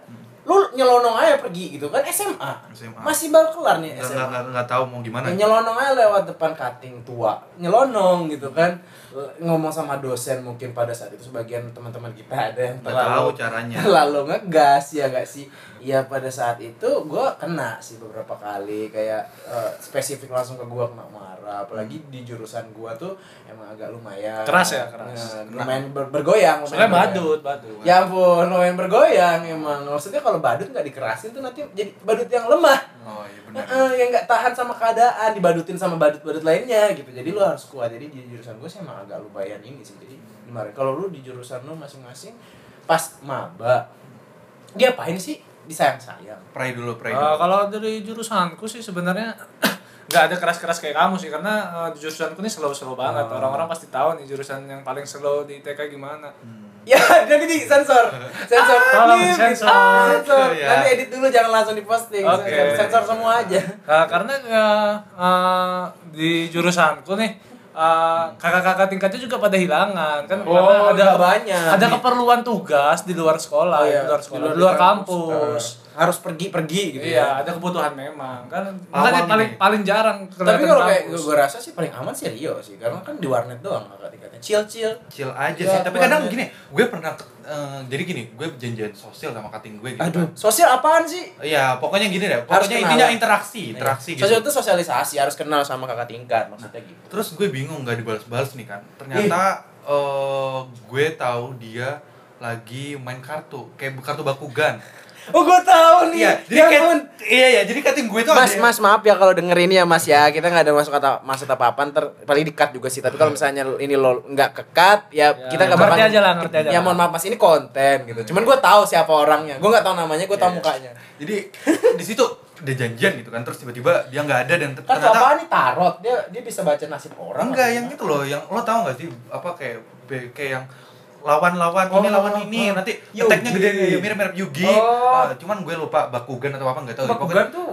[SPEAKER 1] lu nyelonong aja pergi gitu kan SMA,
[SPEAKER 3] SMA.
[SPEAKER 1] masih baru kelar nih SMA
[SPEAKER 3] Nggak- nggak nggak- nggak tahu mau gimana.
[SPEAKER 1] Ya, nyelonong aja lewat depan cutting tua nyelonong gitu kan L- ngomong sama dosen mungkin pada saat itu sebagian teman-teman kita ada yang
[SPEAKER 3] Nggak tahu
[SPEAKER 1] terlalu
[SPEAKER 3] caranya.
[SPEAKER 1] terlalu ngegas ya gak sih ya pada saat itu gue kena sih beberapa kali kayak eh, spesifik langsung ke gue kena marah apalagi di jurusan gue tuh emang agak lumayan
[SPEAKER 2] Keras ya, keras.
[SPEAKER 1] Eh, lumayan ber- bergoyang
[SPEAKER 2] Soalnya
[SPEAKER 1] lumayan bergoyang.
[SPEAKER 2] badut, badut.
[SPEAKER 1] Ya ampun, lumayan bergoyang emang. Maksudnya kalau badut nggak dikerasin tuh nanti jadi badut yang lemah.
[SPEAKER 3] Oh iya benar.
[SPEAKER 1] Heeh, yang nggak tahan sama keadaan dibadutin sama badut-badut lainnya gitu. Jadi lu harus kuat. Jadi di jurusan gue sih emang agak lumayan ini sih. Jadi kemarin kalau lu di jurusan lu masing-masing pas maba diapain sih? Disayang-sayang.
[SPEAKER 3] Pray dulu,
[SPEAKER 2] Eh,
[SPEAKER 3] pray dulu.
[SPEAKER 2] kalau dari jurusanku sih sebenarnya nggak ada keras-keras kayak kamu sih karena eh, di jurusanku nih slow-slow banget.
[SPEAKER 1] Oh.
[SPEAKER 2] Orang-orang pasti tahu nih jurusan yang paling slow di TK gimana.
[SPEAKER 1] Ya, jadi di sensor. Sensor.
[SPEAKER 2] Ah, tolong
[SPEAKER 1] Nih,
[SPEAKER 2] disensor.
[SPEAKER 1] Sensor.
[SPEAKER 3] Ya.
[SPEAKER 1] Nanti edit dulu jangan langsung diposting.
[SPEAKER 2] Oke.
[SPEAKER 1] Sensor, sensor semua aja.
[SPEAKER 2] Nah, karena eh, eh, di jurusanku nih eh, kakak-kakak tingkatnya juga pada hilangan kan
[SPEAKER 1] Oh,
[SPEAKER 2] karena ada
[SPEAKER 1] nggak banyak.
[SPEAKER 2] ada keperluan tugas di luar sekolah
[SPEAKER 1] Oh, iya.
[SPEAKER 2] di luar sekolah di luar kampus,
[SPEAKER 1] Eh, harus pergi-pergi gitu
[SPEAKER 2] iya
[SPEAKER 1] ya.
[SPEAKER 2] ada kebutuhan memang kan
[SPEAKER 3] Aman
[SPEAKER 2] makanya
[SPEAKER 3] ini.
[SPEAKER 2] paling paling jarang
[SPEAKER 1] Tapi
[SPEAKER 2] kelihatan
[SPEAKER 1] kalau kayak
[SPEAKER 2] kampus.
[SPEAKER 1] gue rasa sih paling aman sih Rio sih, karena kan di warnet doang kakak tingkatnya. Chill-chill.
[SPEAKER 3] Chill aja
[SPEAKER 1] Ya,
[SPEAKER 3] sih, tapi kadang
[SPEAKER 1] keluarga.
[SPEAKER 3] gini, gue pernah eh, jadi gini, gue janjian sosial sama kating gue gitu. kan.
[SPEAKER 1] Aduh, sosial apaan sih?
[SPEAKER 3] Iya, pokoknya gini deh.
[SPEAKER 1] Harus
[SPEAKER 3] Pokoknya
[SPEAKER 1] kenal.
[SPEAKER 3] intinya interaksi, interaksi
[SPEAKER 1] Iya.
[SPEAKER 3] gitu.
[SPEAKER 1] Sosial itu sosialisasi, harus kenal sama kakak tingkat maksudnya gitu.
[SPEAKER 3] Terus gue bingung nggak dibalas-balas nih kan. Ternyata eh, gue tahu dia lagi main kartu, kayak kartu bakugan.
[SPEAKER 1] Oh, gue tahu nih.
[SPEAKER 3] Iya, jadi
[SPEAKER 1] Ya
[SPEAKER 3] kayak-
[SPEAKER 1] ampun.
[SPEAKER 3] iya ya, jadi kating gue tuh
[SPEAKER 1] Mas,
[SPEAKER 3] ada-
[SPEAKER 1] mas maaf ya kalau denger ini ya mas ya kita nggak ada masuk kata masuk apa apa ntar paling dikat juga sih tapi
[SPEAKER 3] Iya.
[SPEAKER 1] kalau misalnya ini lo nggak kekat ya,
[SPEAKER 2] Ya,
[SPEAKER 1] kita nggak bakal
[SPEAKER 2] ngerti aja lah, ngerti aja
[SPEAKER 1] ya
[SPEAKER 2] lah.
[SPEAKER 1] mohon maaf mas ini konten gitu cuman gue tahu siapa orangnya gue nggak tahu namanya gue tahu
[SPEAKER 3] Hmm. Iya,
[SPEAKER 1] mukanya
[SPEAKER 3] iya. Jadi di situ dia janjian gitu kan, terus tiba-tiba dia nggak ada dan ter-
[SPEAKER 1] kartu apaan nih tarot dia dia bisa baca nasib orang
[SPEAKER 3] enggak
[SPEAKER 1] apa
[SPEAKER 3] yang
[SPEAKER 1] gimana?
[SPEAKER 3] itu loh yang lo tau gak sih apa kayak be- kayak yang lawan-lawan ini
[SPEAKER 1] Oh,
[SPEAKER 3] lawan
[SPEAKER 1] oh,
[SPEAKER 3] ini
[SPEAKER 1] oh.
[SPEAKER 3] nanti
[SPEAKER 1] Yugi.
[SPEAKER 3] attack-nya gede ya, mirip-mirip Yugi
[SPEAKER 1] Oh.
[SPEAKER 3] Ah, cuman gue lupa Bakugan atau apa nggak tahu
[SPEAKER 1] Bakugan tuh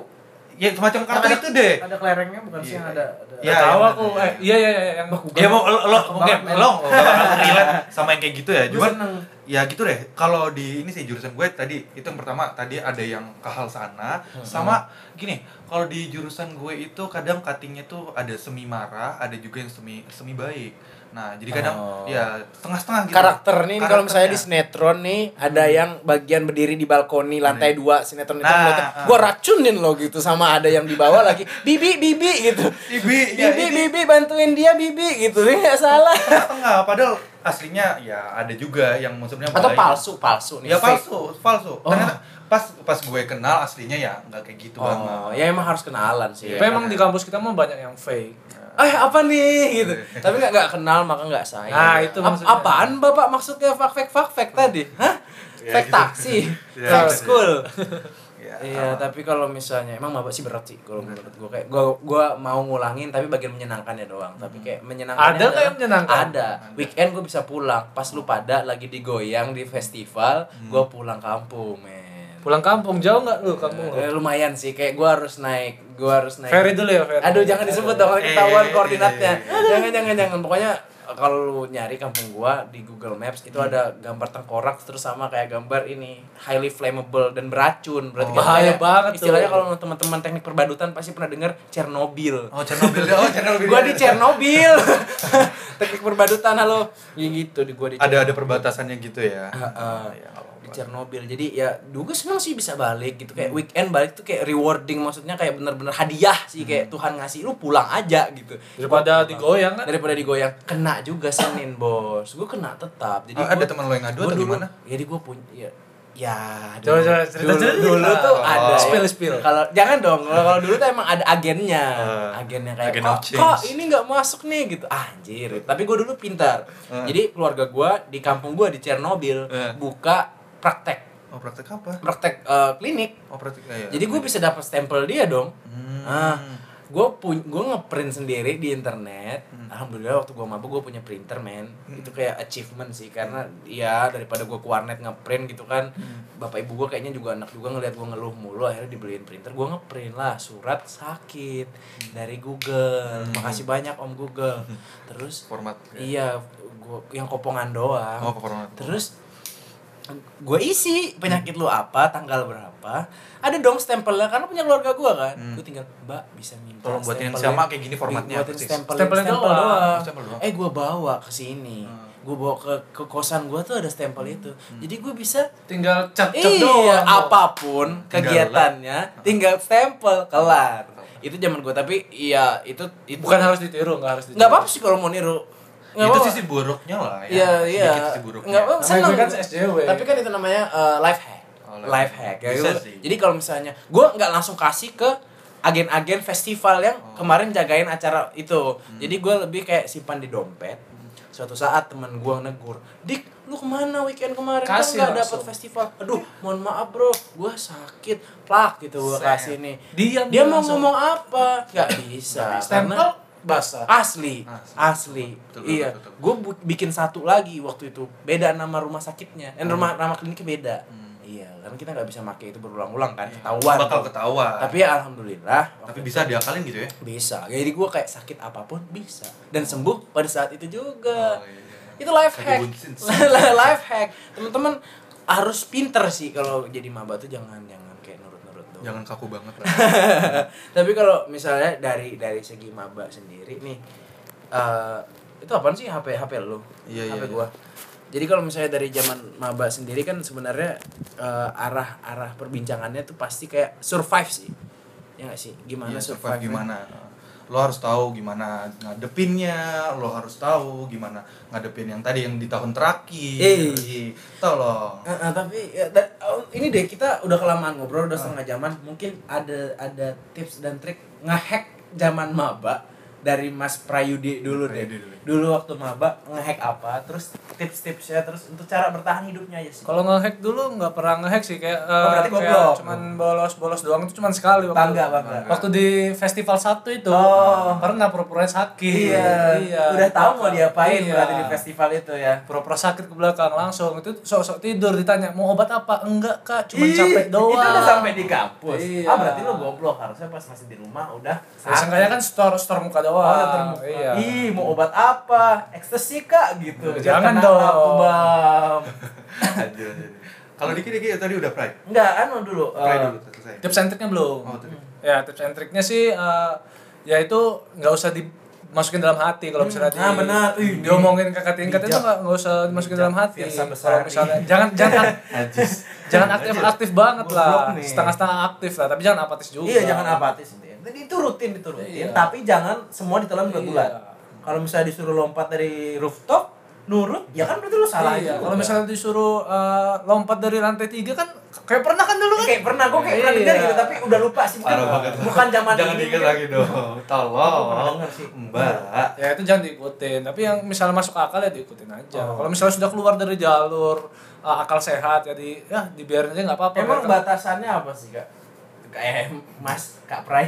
[SPEAKER 3] ya semacam kartu
[SPEAKER 1] ada-
[SPEAKER 3] itu deh
[SPEAKER 1] ada kelerengnya bukan sih
[SPEAKER 3] Iya.
[SPEAKER 1] yang ada, ada
[SPEAKER 3] Iya,
[SPEAKER 2] Nggak tahu
[SPEAKER 3] iya,
[SPEAKER 2] aku
[SPEAKER 3] iya.
[SPEAKER 2] eh, iya iya iya yang
[SPEAKER 3] ya mau lo lo mungkin
[SPEAKER 1] banget,
[SPEAKER 3] lo nggak bakal relate sama yang kayak gitu ya
[SPEAKER 1] Gue
[SPEAKER 3] cuman
[SPEAKER 1] seneng.
[SPEAKER 3] ya gitu deh kalau di ini sih jurusan gue tadi itu yang pertama tadi ada yang ke hal sana
[SPEAKER 1] Hmm.
[SPEAKER 3] sama gini kalau di jurusan gue itu kadang cuttingnya tuh ada semi marah ada juga yang semi semi baik nah jadi kadang
[SPEAKER 1] Oh.
[SPEAKER 3] ya setengah-setengah gitu
[SPEAKER 1] karakter nih kalau misalnya di
[SPEAKER 3] Karakternya. Hmm.
[SPEAKER 1] sinetron nih ada yang bagian berdiri di balkoni lantai dua sinetron itu
[SPEAKER 3] Nah,
[SPEAKER 1] ngeliatin,
[SPEAKER 3] ah.
[SPEAKER 1] gua racunin lo gitu sama ada yang di bawah lagi bibi bibi gitu
[SPEAKER 3] Bibi, ya,
[SPEAKER 1] bibi
[SPEAKER 3] ini.
[SPEAKER 1] bibi bantuin dia bibi gitu ini nggak salah
[SPEAKER 3] setengah padahal aslinya ya ada juga yang maksudnya
[SPEAKER 1] atau
[SPEAKER 3] baik.
[SPEAKER 1] palsu palsu nih
[SPEAKER 3] ya
[SPEAKER 1] fake.
[SPEAKER 3] palsu palsu
[SPEAKER 1] Oh.
[SPEAKER 3] ternyata pas pas gue kenal aslinya ya nggak kayak gitu banget
[SPEAKER 1] oh ya emang harus kenalan sih
[SPEAKER 2] tapi emang di kampus kita mah banyak yang fake
[SPEAKER 1] eh apa nih gitu
[SPEAKER 3] Iya.
[SPEAKER 1] tapi nggak nggak kenal maka nggak sayang
[SPEAKER 2] Nah, itu
[SPEAKER 1] Ap-
[SPEAKER 2] maksudnya.
[SPEAKER 1] apaan bapak maksudnya fak fak fak fak tadi hah
[SPEAKER 3] Ya,
[SPEAKER 1] fak
[SPEAKER 3] gitu.
[SPEAKER 1] taksi
[SPEAKER 3] Ya,
[SPEAKER 1] fak
[SPEAKER 3] gitu.
[SPEAKER 1] school
[SPEAKER 2] Ya.
[SPEAKER 3] Iya.
[SPEAKER 1] Iya, tapi kalau misalnya emang mabok sih berat sih kalau menurut gue kayak gua gua mau ngulangin tapi bagian menyenangkannya doang. Tapi kayak menyenangkan
[SPEAKER 2] Hmm. Ada Hmm. nggak yang menyenangkan?
[SPEAKER 1] Ada. Weekend gue bisa pulang. Pas lu pada lagi digoyang di festival, gua pulang kampung, men.
[SPEAKER 2] Hmm. Pulang kampung jauh nggak lu kampung lu?
[SPEAKER 1] Eh, lumayan sih kayak gua harus naik, gua harus naik.
[SPEAKER 2] Ferry dulu ya Ferry.
[SPEAKER 1] Aduh, jangan disebut dong kalau ketahuan
[SPEAKER 3] Eh, eh,
[SPEAKER 1] koordinatnya.
[SPEAKER 3] eh,
[SPEAKER 1] Jangan jangan jangan pokoknya eh, kalau lu nyari kampung gua di Google Maps itu ada gambar tengkorak terus sama kayak gambar ini highly flammable dan beracun. Berarti
[SPEAKER 2] Oh,
[SPEAKER 1] kan
[SPEAKER 2] bahaya
[SPEAKER 1] kayak-
[SPEAKER 2] banget tuh.
[SPEAKER 1] Istilahnya kalau teman-teman teknik perbadutan pasti pernah dengar Chernobyl. Iya.
[SPEAKER 3] Oh, Chernobyl. Oh, Chernobyl.
[SPEAKER 1] Gua di Chernobyl. teknik perbadutan halo. Ya gitu di gua di
[SPEAKER 3] Ada ada perbatasannya gitu ya.
[SPEAKER 1] Heeh.
[SPEAKER 3] Ya, nggak apa-apa. Hmm.
[SPEAKER 1] di Chernobyl jadi ya duga seneng sih bisa balik gitu kayak weekend balik tuh kayak rewarding maksudnya kayak bener-bener hadiah sih kayak
[SPEAKER 3] Hmm.
[SPEAKER 1] Tuhan ngasih lu pulang aja gitu
[SPEAKER 2] Daripada digoyang kan?
[SPEAKER 1] daripada digoyang kena juga Senin bos gue kena tetap jadi
[SPEAKER 3] Oh, ada
[SPEAKER 1] gua-
[SPEAKER 3] teman lo yang ngadu
[SPEAKER 1] gua
[SPEAKER 3] atau
[SPEAKER 1] dulu-
[SPEAKER 3] gimana?
[SPEAKER 1] jadi gue punya ya ya
[SPEAKER 2] Coba, coba, cerita,
[SPEAKER 1] dulu,
[SPEAKER 2] cerita.
[SPEAKER 1] dulu tuh
[SPEAKER 3] Oh.
[SPEAKER 1] ada
[SPEAKER 2] Spill, spill.
[SPEAKER 1] kalau jangan dong kalau kalau dulu tuh emang ada agennya
[SPEAKER 3] Eh,
[SPEAKER 1] agennya kayak
[SPEAKER 3] agent
[SPEAKER 1] kok,
[SPEAKER 3] of
[SPEAKER 1] kok
[SPEAKER 3] change."
[SPEAKER 1] ini nggak masuk nih gitu ah, anjir tapi gue dulu pintar
[SPEAKER 3] Eh.
[SPEAKER 1] jadi keluarga gue di kampung gue di Chernobyl
[SPEAKER 3] Eh.
[SPEAKER 1] buka praktek
[SPEAKER 3] Oh, praktek apa?
[SPEAKER 1] praktek eh, klinik
[SPEAKER 3] Oh, praktek. ya, ya.
[SPEAKER 1] jadi gue bisa dapat stempel dia dong
[SPEAKER 3] Hmm.
[SPEAKER 1] ah gue pun gue ngeprint sendiri di internet alhamdulillah waktu gue mabuk gue punya printer men itu kayak achievement sih karena ya daripada gue ke warnet ngeprint gitu kan bapak ibu gue kayaknya juga anak juga ngelihat gue ngeluh mulu akhirnya dibeliin printer gue ngeprint lah surat sakit dari Google makasih banyak om Google terus
[SPEAKER 3] format. ya.
[SPEAKER 1] iya gue yang kopongan doang
[SPEAKER 3] Oh, format.
[SPEAKER 1] Terus gue isi penyakit lu apa, tanggal berapa. Ada dong stempelnya karena punya keluarga gue kan.
[SPEAKER 3] Hmm.
[SPEAKER 1] Gue tinggal, "Mbak, bisa minta
[SPEAKER 3] Tolong buatin yang
[SPEAKER 1] stempelnya?"
[SPEAKER 3] sama kayak gini formatnya,
[SPEAKER 1] Buatin
[SPEAKER 3] persis.
[SPEAKER 1] stempel,
[SPEAKER 2] Stempelnya
[SPEAKER 1] stempel
[SPEAKER 2] doang.
[SPEAKER 1] doang.
[SPEAKER 3] Stempel doang.
[SPEAKER 1] Eh, gue bawa ke sini.
[SPEAKER 3] Hmm.
[SPEAKER 1] Gue bawa ke ke kosan gue tuh ada stempel itu. Jadi gue bisa
[SPEAKER 2] Tinggal cap cap doang.
[SPEAKER 1] Iya, apapun
[SPEAKER 3] Tinggal Hmm.
[SPEAKER 1] kegiatannya tinggal stempel kelar. Itu zaman gue tapi iya itu itu
[SPEAKER 2] Bukan harus ditiru, nggak harus ditiru.
[SPEAKER 1] nggak apa-apa sih kalau mau niru. Nggak
[SPEAKER 3] itu
[SPEAKER 1] apa-apa.
[SPEAKER 3] sisi buruknya lah ya.
[SPEAKER 1] Iya, iya.
[SPEAKER 3] Sedikit sisi buruknya.
[SPEAKER 1] Nggak apa-apa,
[SPEAKER 2] Namanya
[SPEAKER 1] seneng.
[SPEAKER 2] gue kan SJW.
[SPEAKER 1] Tapi kan itu namanya uh, life hack.
[SPEAKER 3] Oh, life
[SPEAKER 1] life hack.
[SPEAKER 3] hack.
[SPEAKER 1] Ya,
[SPEAKER 3] Bisa
[SPEAKER 1] gue-
[SPEAKER 3] sih.
[SPEAKER 1] Jadi kalau misalnya gue nggak langsung kasih ke agen-agen festival yang kemarin jagain acara itu. Jadi gue lebih kayak simpan di dompet. Suatu saat teman gue negur, "Dik, lu kemana weekend kemarin? Kan
[SPEAKER 2] Kasih
[SPEAKER 1] nggak dapet
[SPEAKER 2] langsung.
[SPEAKER 1] festival." Aduh, mohon maaf, Bro. Gue sakit. Plak gitu gue
[SPEAKER 2] Set.
[SPEAKER 1] kasih nih.
[SPEAKER 2] Diam
[SPEAKER 1] Dia mau
[SPEAKER 2] langsung.
[SPEAKER 1] ngomong apa? Nggak bisa.
[SPEAKER 2] Stempel
[SPEAKER 1] karena-
[SPEAKER 2] basah.
[SPEAKER 1] asli
[SPEAKER 3] Asli.
[SPEAKER 1] asli
[SPEAKER 3] Betul, betul,
[SPEAKER 1] iya
[SPEAKER 3] betul, betul.
[SPEAKER 1] gue bikin satu lagi waktu itu beda nama rumah sakitnya
[SPEAKER 3] Hmm.
[SPEAKER 1] dan rumah nama kliniknya beda iya karena kita nggak bisa pakai itu berulang-ulang kan ketahuan
[SPEAKER 3] Iya, Bakal
[SPEAKER 1] tuh.
[SPEAKER 3] ketahuan.
[SPEAKER 1] tapi ya alhamdulillah
[SPEAKER 3] tapi bisa diakalin gitu ya.
[SPEAKER 1] bisa jadi gue kayak sakit apapun bisa dan sembuh pada saat itu juga
[SPEAKER 3] Hmm. Oh, iya.
[SPEAKER 1] itu life hack
[SPEAKER 3] Kayak Bunsin.
[SPEAKER 1] life hack teman-teman harus pinter sih kalau jadi maba tuh jangan jangan kayak nurut-nurut doang
[SPEAKER 3] Jangan kaku banget lah.
[SPEAKER 1] tapi kalau misalnya dari dari segi maba sendiri nih eh itu apaan sih HP HP lo
[SPEAKER 3] Iya,
[SPEAKER 1] HP
[SPEAKER 3] iya,
[SPEAKER 1] gua jadi kalau misalnya dari zaman maba sendiri kan sebenarnya eh, arah arah perbincangannya tuh pasti kayak survive sih ya nggak sih gimana
[SPEAKER 3] Iya, survive
[SPEAKER 1] survive-nya?
[SPEAKER 3] gimana? Lo harus tahu gimana ngadepinnya, lo harus tahu gimana ngadepin yang tadi yang di tahun terakhir.
[SPEAKER 1] Eh.
[SPEAKER 3] Tolong.
[SPEAKER 1] Eh, eh, tapi ya, da- oh, ini deh kita udah kelamaan ngobrol
[SPEAKER 2] Ah.
[SPEAKER 1] udah setengah zaman mungkin ada ada tips dan trik ngehack zaman maba dari Mas Prayudi dulu deh
[SPEAKER 3] Prayudi dulu.
[SPEAKER 1] dulu waktu maba ngehack apa terus tips-tipsnya terus untuk cara bertahan hidupnya aja sih
[SPEAKER 2] Kalau ngehack dulu nggak pernah ngehack sih kayak, eh,
[SPEAKER 1] Oh, berarti
[SPEAKER 2] kayak
[SPEAKER 1] goblok.
[SPEAKER 2] cuman bolos-bolos doang itu cuman sekali waktu.
[SPEAKER 1] Bangga, bangga.
[SPEAKER 2] Waktu di festival satu itu
[SPEAKER 1] Oh.
[SPEAKER 2] pernah pura-pura sakit.
[SPEAKER 1] iya, udah tahu mau diapain
[SPEAKER 2] gitu. Iya.
[SPEAKER 1] berarti di festival itu ya
[SPEAKER 2] pura-pura sakit ke belakang langsung itu sok-sok tidur ditanya mau obat apa enggak kak cuma
[SPEAKER 1] Ih,
[SPEAKER 2] capek doang
[SPEAKER 1] itu udah sampai di kampus
[SPEAKER 2] Iya.
[SPEAKER 1] ah berarti lo goblok harusnya pas masih di rumah udah
[SPEAKER 2] Sangkanya kan store store muka doang
[SPEAKER 1] Oh, udah terbuka.
[SPEAKER 2] iya
[SPEAKER 1] Ih, mau obat apa? Ekstasi kak gitu.
[SPEAKER 2] Jangan
[SPEAKER 1] Kena
[SPEAKER 2] dong.
[SPEAKER 1] narkoba.
[SPEAKER 3] Aduh, aduh. Kalau dikit-dikit tadi udah pray.
[SPEAKER 1] Enggak, anu dulu. eh,
[SPEAKER 3] Pray dulu selesai.
[SPEAKER 2] tips and triknya belum
[SPEAKER 3] Oh, tips.
[SPEAKER 2] ya tips and triknya sih eh, ya itu nggak usah dimasukin dalam hati kalau misalnya di,
[SPEAKER 1] ah, benar. Ih,
[SPEAKER 2] diomongin kakak tingkat itu
[SPEAKER 1] bijak.
[SPEAKER 2] nggak nggak usah dimasukin
[SPEAKER 1] Bijak.
[SPEAKER 2] dalam hati
[SPEAKER 1] Firsa Besari.
[SPEAKER 2] kalau misalnya jangan jangan
[SPEAKER 3] Najis.
[SPEAKER 2] jangan aktif aktif banget
[SPEAKER 1] Goblok
[SPEAKER 2] lah
[SPEAKER 1] nih.
[SPEAKER 2] setengah-setengah aktif lah tapi jangan apatis juga
[SPEAKER 1] Iya, jangan apatis gitu ya. Jadi itu rutin diturutin,
[SPEAKER 2] Iya.
[SPEAKER 1] tapi jangan semua ditelan bulan-bulan.
[SPEAKER 2] Iya.
[SPEAKER 1] Kalau misalnya disuruh lompat dari rooftop, nurut ya kan berarti lu salah
[SPEAKER 2] iya,
[SPEAKER 1] juga.
[SPEAKER 2] kalau misalnya disuruh eh, lompat dari lantai tiga kan kayak pernah kan dulu kan?
[SPEAKER 1] kayak pernah gue kayak pernah
[SPEAKER 2] Iya.
[SPEAKER 1] dengar gitu tapi udah lupa sih mungkin
[SPEAKER 3] Parah banget.
[SPEAKER 1] bukan zaman
[SPEAKER 3] Jangan
[SPEAKER 1] ini,
[SPEAKER 3] diingat
[SPEAKER 1] mungkin.
[SPEAKER 3] lagi dong.
[SPEAKER 1] Pernah
[SPEAKER 3] Tolong.
[SPEAKER 1] dengar sih.
[SPEAKER 3] Mbak.
[SPEAKER 2] ya itu jangan diikutin tapi yang misalnya masuk akal ya diikutin aja
[SPEAKER 1] Oh.
[SPEAKER 2] kalau misalnya sudah keluar dari jalur uh, akal sehat jadi ya dibiarin aja nggak apa-apa
[SPEAKER 1] emang
[SPEAKER 2] Mereka-
[SPEAKER 1] batasannya apa sih kak kayak mas kak
[SPEAKER 2] Iya.
[SPEAKER 1] Prai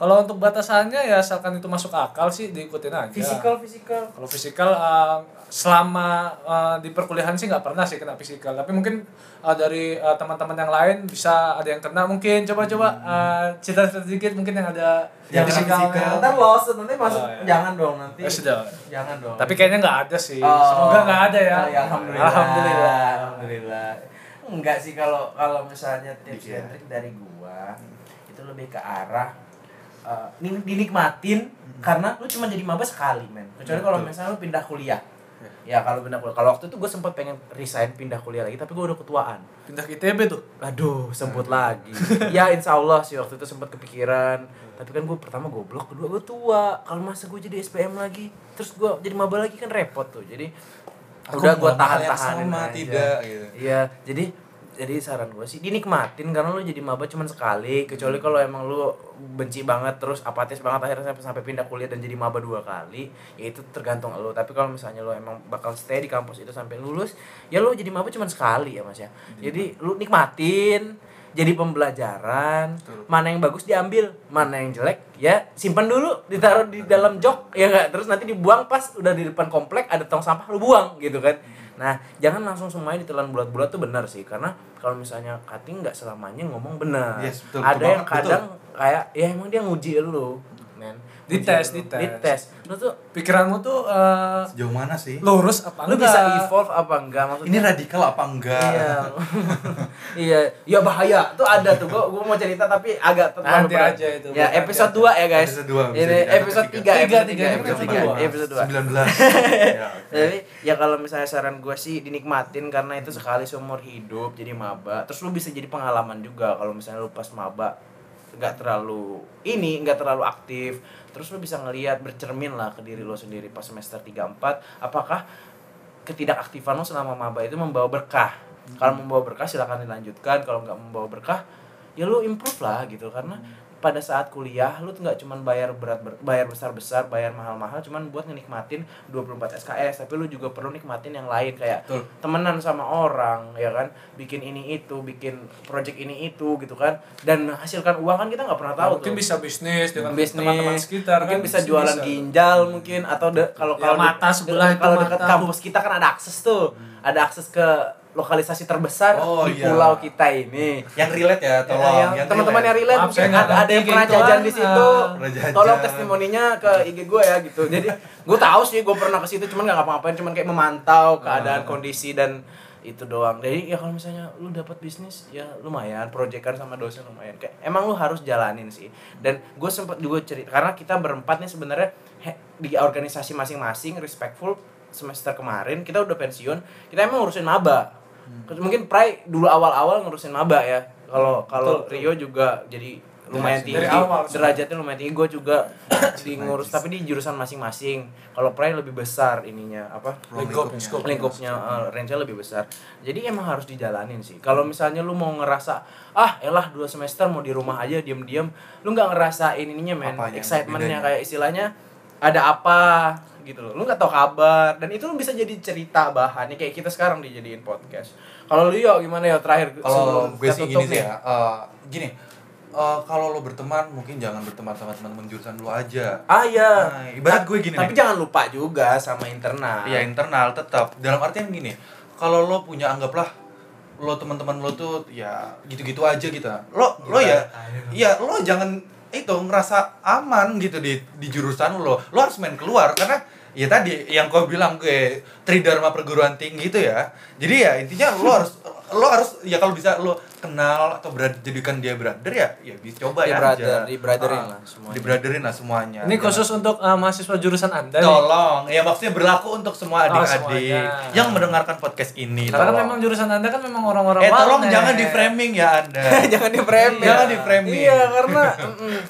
[SPEAKER 2] kalau untuk batasannya ya asalkan itu masuk akal sih diikutin aja
[SPEAKER 1] physical physical
[SPEAKER 2] kalau fisikal uh, selama uh, di perkuliahan sih nggak pernah sih kena fisikal tapi mungkin uh, dari uh, teman-teman yang lain bisa ada yang kena mungkin coba-coba
[SPEAKER 1] Hmm.
[SPEAKER 2] uh, cerita-cerita sedikit mungkin yang ada
[SPEAKER 1] jangan
[SPEAKER 2] fisikal.
[SPEAKER 1] physical ntar lost nanti masuk
[SPEAKER 2] Oh, iya.
[SPEAKER 1] jangan dong nanti
[SPEAKER 2] Ya sudah
[SPEAKER 1] jangan dong
[SPEAKER 2] tapi kayaknya nggak ada sih
[SPEAKER 1] Oh.
[SPEAKER 2] semoga nggak ada ya
[SPEAKER 1] Oh, ya, alhamdulillah.
[SPEAKER 2] alhamdulillah
[SPEAKER 1] Alhamdulillah. Enggak sih kalau kalau misalnya tips
[SPEAKER 3] Dikit ya.
[SPEAKER 1] dan trik dari gua itu lebih ke arah eh, nin- dinikmatin
[SPEAKER 2] Hmm.
[SPEAKER 1] karena lu cuma jadi maba sekali men. Kecuali kalau
[SPEAKER 3] Betul.
[SPEAKER 1] misalnya lu pindah kuliah. Ya kalau pindah kuliah. Kalau waktu itu gua sempat pengen resign pindah kuliah lagi tapi gua udah ketuaan.
[SPEAKER 2] pindah ke ITB tuh
[SPEAKER 1] Aduh, semput lagi. ya insya Allah sih waktu itu sempat kepikiran. Tapi kan gue pertama goblok, kedua gue tua. Kalau masa gue jadi SPM lagi, terus gue jadi maba lagi kan repot tuh. Jadi
[SPEAKER 3] Aku
[SPEAKER 1] udah gue
[SPEAKER 3] melakukan hal yang
[SPEAKER 1] tahan-tahanin
[SPEAKER 3] sama,
[SPEAKER 1] aja.
[SPEAKER 3] tidak, gitu.
[SPEAKER 1] Iya, jadi jadi saran gue sih dinikmatin karena lu jadi maba cuman sekali kecuali kalau emang lu benci banget terus apatis banget akhirnya sampai, sampai pindah kuliah dan jadi maba dua kali ya itu tergantung lu tapi kalau misalnya lu emang bakal stay di kampus itu sampai lulus ya lu jadi maba cuman sekali ya mas ya jadi lu nikmatin jadi pembelajaran
[SPEAKER 3] Betul.
[SPEAKER 1] mana yang bagus diambil mana yang jelek ya simpan dulu ditaruh di dalam jok ya enggak terus nanti dibuang pas udah di depan komplek ada tong sampah lu buang gitu kan nah jangan langsung semuanya ditelan bulat-bulat tuh benar sih karena kalau misalnya cutting nggak selamanya ngomong benar
[SPEAKER 3] Yes, betul,
[SPEAKER 1] ada
[SPEAKER 3] betul
[SPEAKER 1] yang
[SPEAKER 3] banget,
[SPEAKER 1] kadang kayak ya emang dia nguji lu men Nguji
[SPEAKER 2] Dites,
[SPEAKER 1] lu.
[SPEAKER 2] dites.
[SPEAKER 1] dites lu tuh
[SPEAKER 2] pikiranmu tuh eh,
[SPEAKER 3] Sejauh mana sih?
[SPEAKER 2] lurus apa
[SPEAKER 1] lu
[SPEAKER 2] enggak
[SPEAKER 1] bisa evolve apa enggak maksudnya
[SPEAKER 3] Ini radikal apa enggak?
[SPEAKER 1] iya iya ya bahaya tuh ada tuh gua gua mau cerita tapi agak terlalu
[SPEAKER 2] Nanti
[SPEAKER 1] berat.
[SPEAKER 2] aja itu,
[SPEAKER 1] ya
[SPEAKER 2] bukan
[SPEAKER 1] episode
[SPEAKER 2] aja.
[SPEAKER 1] 2 ya guys
[SPEAKER 3] Episode dua,
[SPEAKER 1] ini
[SPEAKER 3] bisa jadi, atau
[SPEAKER 1] episode
[SPEAKER 3] ketiga.
[SPEAKER 1] 3 episode
[SPEAKER 2] Tiga,
[SPEAKER 1] 3
[SPEAKER 2] tiga,
[SPEAKER 1] episode
[SPEAKER 2] episode
[SPEAKER 1] 2
[SPEAKER 2] dua.
[SPEAKER 1] episode 2
[SPEAKER 3] 19. Ya, oke.
[SPEAKER 1] jadi ya kalau misalnya saran gue sih dinikmatin karena itu sekali seumur hidup jadi maba terus lu bisa jadi pengalaman juga kalau misalnya lu pas maba nggak terlalu ini nggak terlalu aktif terus lu bisa ngelihat bercermin lah ke diri lu sendiri pas semester 3 4 apakah ketidakaktifan lu selama maba itu membawa berkah kalau
[SPEAKER 2] Hmm.
[SPEAKER 1] membawa berkah silakan dilanjutkan kalau nggak membawa berkah ya lu improve lah gitu karena
[SPEAKER 2] Hmm.
[SPEAKER 1] pada saat kuliah lu tuh nggak cuman bayar berat ber- bayar besar besar bayar mahal mahal cuman buat ngenikmatin 24 SKS tapi lu juga perlu nikmatin yang lain kayak
[SPEAKER 3] Betul.
[SPEAKER 1] temenan sama orang ya kan bikin ini itu bikin project ini itu gitu kan dan menghasilkan uang kan kita nggak pernah
[SPEAKER 2] Nah,
[SPEAKER 1] tahu
[SPEAKER 2] mungkin
[SPEAKER 1] tuh
[SPEAKER 2] bisa bisnis dengan
[SPEAKER 1] Bisnis,
[SPEAKER 2] teman-teman sekitar
[SPEAKER 1] mungkin
[SPEAKER 2] kan
[SPEAKER 1] bisa jualan ginjal mungkin atau de- kalau
[SPEAKER 2] Ya,
[SPEAKER 1] kalau de-
[SPEAKER 2] mata sebelah itu
[SPEAKER 1] kalau dekat
[SPEAKER 2] mata. Hmm.
[SPEAKER 1] kampus kita kan ada akses tuh ada akses ke lokalisasi terbesar
[SPEAKER 3] Oh,
[SPEAKER 1] di
[SPEAKER 3] iya.
[SPEAKER 1] pulau kita ini
[SPEAKER 3] Yang relate ya, tolong.
[SPEAKER 1] Ya, yang teman-teman yang relate
[SPEAKER 2] Maaf,
[SPEAKER 1] mungkin
[SPEAKER 2] saya nggak
[SPEAKER 1] ada, ada yang
[SPEAKER 2] ngerti
[SPEAKER 1] pernah
[SPEAKER 2] gitu
[SPEAKER 1] jajan
[SPEAKER 2] kan.
[SPEAKER 1] di situ
[SPEAKER 2] Ah.
[SPEAKER 3] Pernah jajan.
[SPEAKER 1] tolong testimoninya ke IG gue ya gitu jadi gue tahu sih gue pernah ke situ cuman nggak ngapa-ngapain cuman kayak memantau
[SPEAKER 2] Ah.
[SPEAKER 1] keadaan kondisi dan itu doang jadi ya kalau misalnya lu dapat bisnis ya lumayan proyekan sama dosen lumayan kayak emang lu harus jalanin sih dan gue sempat juga cerita karena kita berempat nih sebenarnya he- di organisasi masing-masing respectful semester kemarin kita udah pensiun kita emang ngurusin maba
[SPEAKER 2] Hmm.
[SPEAKER 1] mungkin Prai dulu awal-awal ngurusin maba ya kalau kalau
[SPEAKER 2] Betul, betul.
[SPEAKER 1] Rio juga jadi lumayan
[SPEAKER 2] Dari
[SPEAKER 1] tinggi
[SPEAKER 2] awal sebenarnya.
[SPEAKER 1] derajatnya lumayan tinggi gue juga di ngurus tapi di jurusan masing-masing kalau Pray lebih besar ininya apa
[SPEAKER 2] Lingkup, lingkup.
[SPEAKER 1] lingkupnya eh, range-nya lebih besar jadi emang harus dijalanin sih kalau misalnya lu mau ngerasa ah elah dua semester mau di rumah aja diam-diam lu nggak ngerasain ininya men
[SPEAKER 3] Apanya?
[SPEAKER 1] excitementnya
[SPEAKER 3] Bedanya?
[SPEAKER 1] kayak istilahnya ada apa gitu loh lu nggak tahu kabar dan itu bisa jadi cerita bahannya kayak kita sekarang dijadiin podcast kalau lu yo gimana ya terakhir
[SPEAKER 3] kalau
[SPEAKER 1] sebelum
[SPEAKER 3] gue
[SPEAKER 1] kita
[SPEAKER 3] sih
[SPEAKER 1] tutup
[SPEAKER 3] gini sih ya eh, gini eh, kalau lo berteman mungkin jangan berteman sama teman-teman jurusan lo aja
[SPEAKER 1] Ah iya.
[SPEAKER 3] Nah, ibarat gue gini
[SPEAKER 1] Tapi
[SPEAKER 3] nih.
[SPEAKER 1] jangan lupa juga sama internal.
[SPEAKER 3] ya internal tetap dalam artian gini kalau lo punya anggaplah lo teman-teman lo tuh ya gitu-gitu aja gitu lo lo ya ya lo jangan itu ngerasa aman gitu di di jurusan lo lo harus main keluar karena ya tadi yang kau bilang ke tridharma perguruan tinggi itu ya jadi ya intinya lo harus lo harus ya kalau bisa lo kenal atau berad, jadikan dia brother ya ya bisa coba
[SPEAKER 1] Dia
[SPEAKER 3] ya
[SPEAKER 1] brother,
[SPEAKER 3] aja.
[SPEAKER 1] di brother-in
[SPEAKER 3] Ah,
[SPEAKER 1] lah semuanya.
[SPEAKER 3] di brother-in lah semuanya
[SPEAKER 2] ini
[SPEAKER 3] Ya, Jangan-
[SPEAKER 2] khusus untuk uh, mahasiswa jurusan anda nih
[SPEAKER 3] Tolong, ya maksudnya berlaku untuk
[SPEAKER 2] Oh,
[SPEAKER 3] semua adik-adik
[SPEAKER 2] semuanya.
[SPEAKER 3] yang mendengarkan podcast ini.
[SPEAKER 2] karena kan
[SPEAKER 3] tolong.
[SPEAKER 2] memang jurusan anda kan memang orang-orang
[SPEAKER 3] eh tolong
[SPEAKER 2] warnet.
[SPEAKER 3] jangan di framing ya Anda.
[SPEAKER 1] jangan di framing.
[SPEAKER 3] Jangan di framing.
[SPEAKER 1] Iya, karena mm-mm.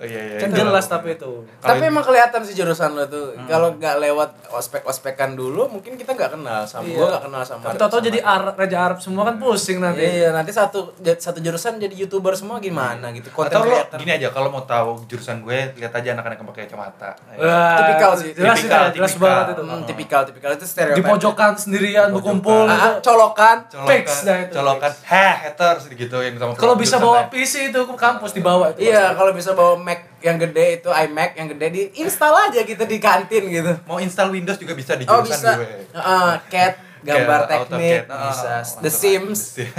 [SPEAKER 3] Oh, iya, iya,
[SPEAKER 2] Kan
[SPEAKER 3] itu.
[SPEAKER 2] jelas tapi itu.
[SPEAKER 1] Tapi emang kelihatan sih jurusan lo tuh. Kalau nggak lewat ospek-ospekan dulu, mungkin kita nggak kenal sama.
[SPEAKER 2] Iya.
[SPEAKER 1] Gue nggak kenal sama.
[SPEAKER 2] Tapi tau-tau
[SPEAKER 1] sama-
[SPEAKER 2] jadi Ar- Raja Arab semua kan pusing nanti.
[SPEAKER 1] Iya, nanti satu satu jurusan jadi youtuber semua gimana gitu. Konten
[SPEAKER 3] Atau lo
[SPEAKER 1] creator.
[SPEAKER 3] gini aja kalau mau tahu jurusan gue lihat aja anak-anak yang pakai kacamata. Nah, iya.
[SPEAKER 2] Wah,
[SPEAKER 1] Tipikal sih,
[SPEAKER 2] Jelas itu,
[SPEAKER 3] tipikal,
[SPEAKER 2] jelas
[SPEAKER 3] tipikal.
[SPEAKER 2] banget itu.
[SPEAKER 1] Hmm, tipikal tipikal itu stereotip.
[SPEAKER 2] Di pojokan sendirian berkumpul. gitu.
[SPEAKER 1] Ah, ah,
[SPEAKER 2] itu.
[SPEAKER 1] colokan.
[SPEAKER 3] Colokan,
[SPEAKER 2] Fix dah itu,
[SPEAKER 3] colokan, heh, haters gitu yang sama.
[SPEAKER 2] Kalau bisa
[SPEAKER 3] jurusan
[SPEAKER 2] bawa
[SPEAKER 3] lain.
[SPEAKER 2] PC itu ke kampus dibawa itu.
[SPEAKER 1] Iya, kalau bisa bawa Mac yang gede itu iMac yang gede di install aja gitu di kantin gitu.
[SPEAKER 3] mau install Windows juga bisa di
[SPEAKER 1] Oh
[SPEAKER 3] jurusan
[SPEAKER 1] bisa.
[SPEAKER 3] gue.
[SPEAKER 1] Heeh, cat, gambar
[SPEAKER 3] Kayak
[SPEAKER 1] teknik,
[SPEAKER 3] AutoCAD, ah,
[SPEAKER 1] bisa.
[SPEAKER 3] ah,
[SPEAKER 1] The
[SPEAKER 3] ah,
[SPEAKER 1] Sims.
[SPEAKER 3] The Sims.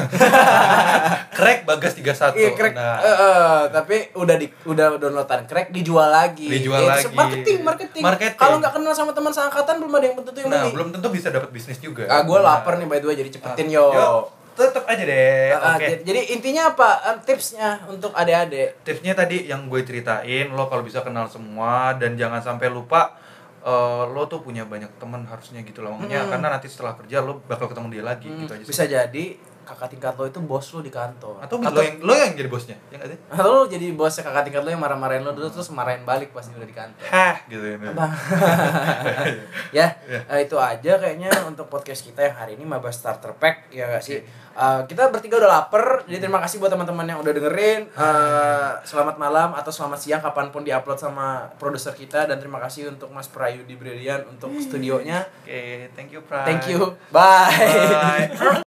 [SPEAKER 3] Crack bagas 31.
[SPEAKER 1] Iya, crack.
[SPEAKER 3] Nah,
[SPEAKER 1] Eh, eh, tapi udah di udah downloadan crack dijual lagi.
[SPEAKER 3] Dijual
[SPEAKER 1] Itu
[SPEAKER 3] lagi.
[SPEAKER 1] Marketing, marketing.
[SPEAKER 3] Marketing.
[SPEAKER 1] Kalau nggak kenal sama teman seangkatan belum ada yang tentu yang
[SPEAKER 3] nah,
[SPEAKER 1] beli.
[SPEAKER 3] belum tentu bisa dapat bisnis juga.
[SPEAKER 1] Ah, gue
[SPEAKER 3] Nah.
[SPEAKER 1] lapar nih by the way, jadi cepetin
[SPEAKER 3] Ah,
[SPEAKER 1] yo.
[SPEAKER 3] Tetep aja deh.
[SPEAKER 1] Ah, ah,
[SPEAKER 3] Oke.
[SPEAKER 1] j- Jadi intinya apa eh, tipsnya untuk adik-adik?
[SPEAKER 3] tipsnya tadi yang gue ceritain lo kalau bisa kenal semua dan jangan sampai lupa eh, lo tuh punya banyak teman harusnya gitu loh Makanya, karena nanti setelah kerja lo bakal ketemu dia lagi gitu aja sih.
[SPEAKER 1] Hmm, Bisa jadi kakak tingkat lo itu bos lo di kantor.
[SPEAKER 3] atau, lo yang lo yang jadi bosnya ya nggak sih
[SPEAKER 1] Atau lo jadi bosnya kakak tingkat lo yang marah-marahin lo dulu terus marahin balik pas udah di kantor.
[SPEAKER 3] hah gitu ya
[SPEAKER 1] Bang. ya, eh, itu aja kayaknya untuk podcast kita yang hari ini Maba Starter Pack ya gak sih. Eh, kita bertiga udah lapar, jadi terima kasih buat teman-teman yang udah dengerin. Eh, selamat malam atau selamat siang kapanpun diupload sama produser kita dan terima kasih untuk Mas Prayudi Brilian untuk studionya.
[SPEAKER 3] oke thank you Pras
[SPEAKER 1] Thank you. Bye.
[SPEAKER 3] Bye.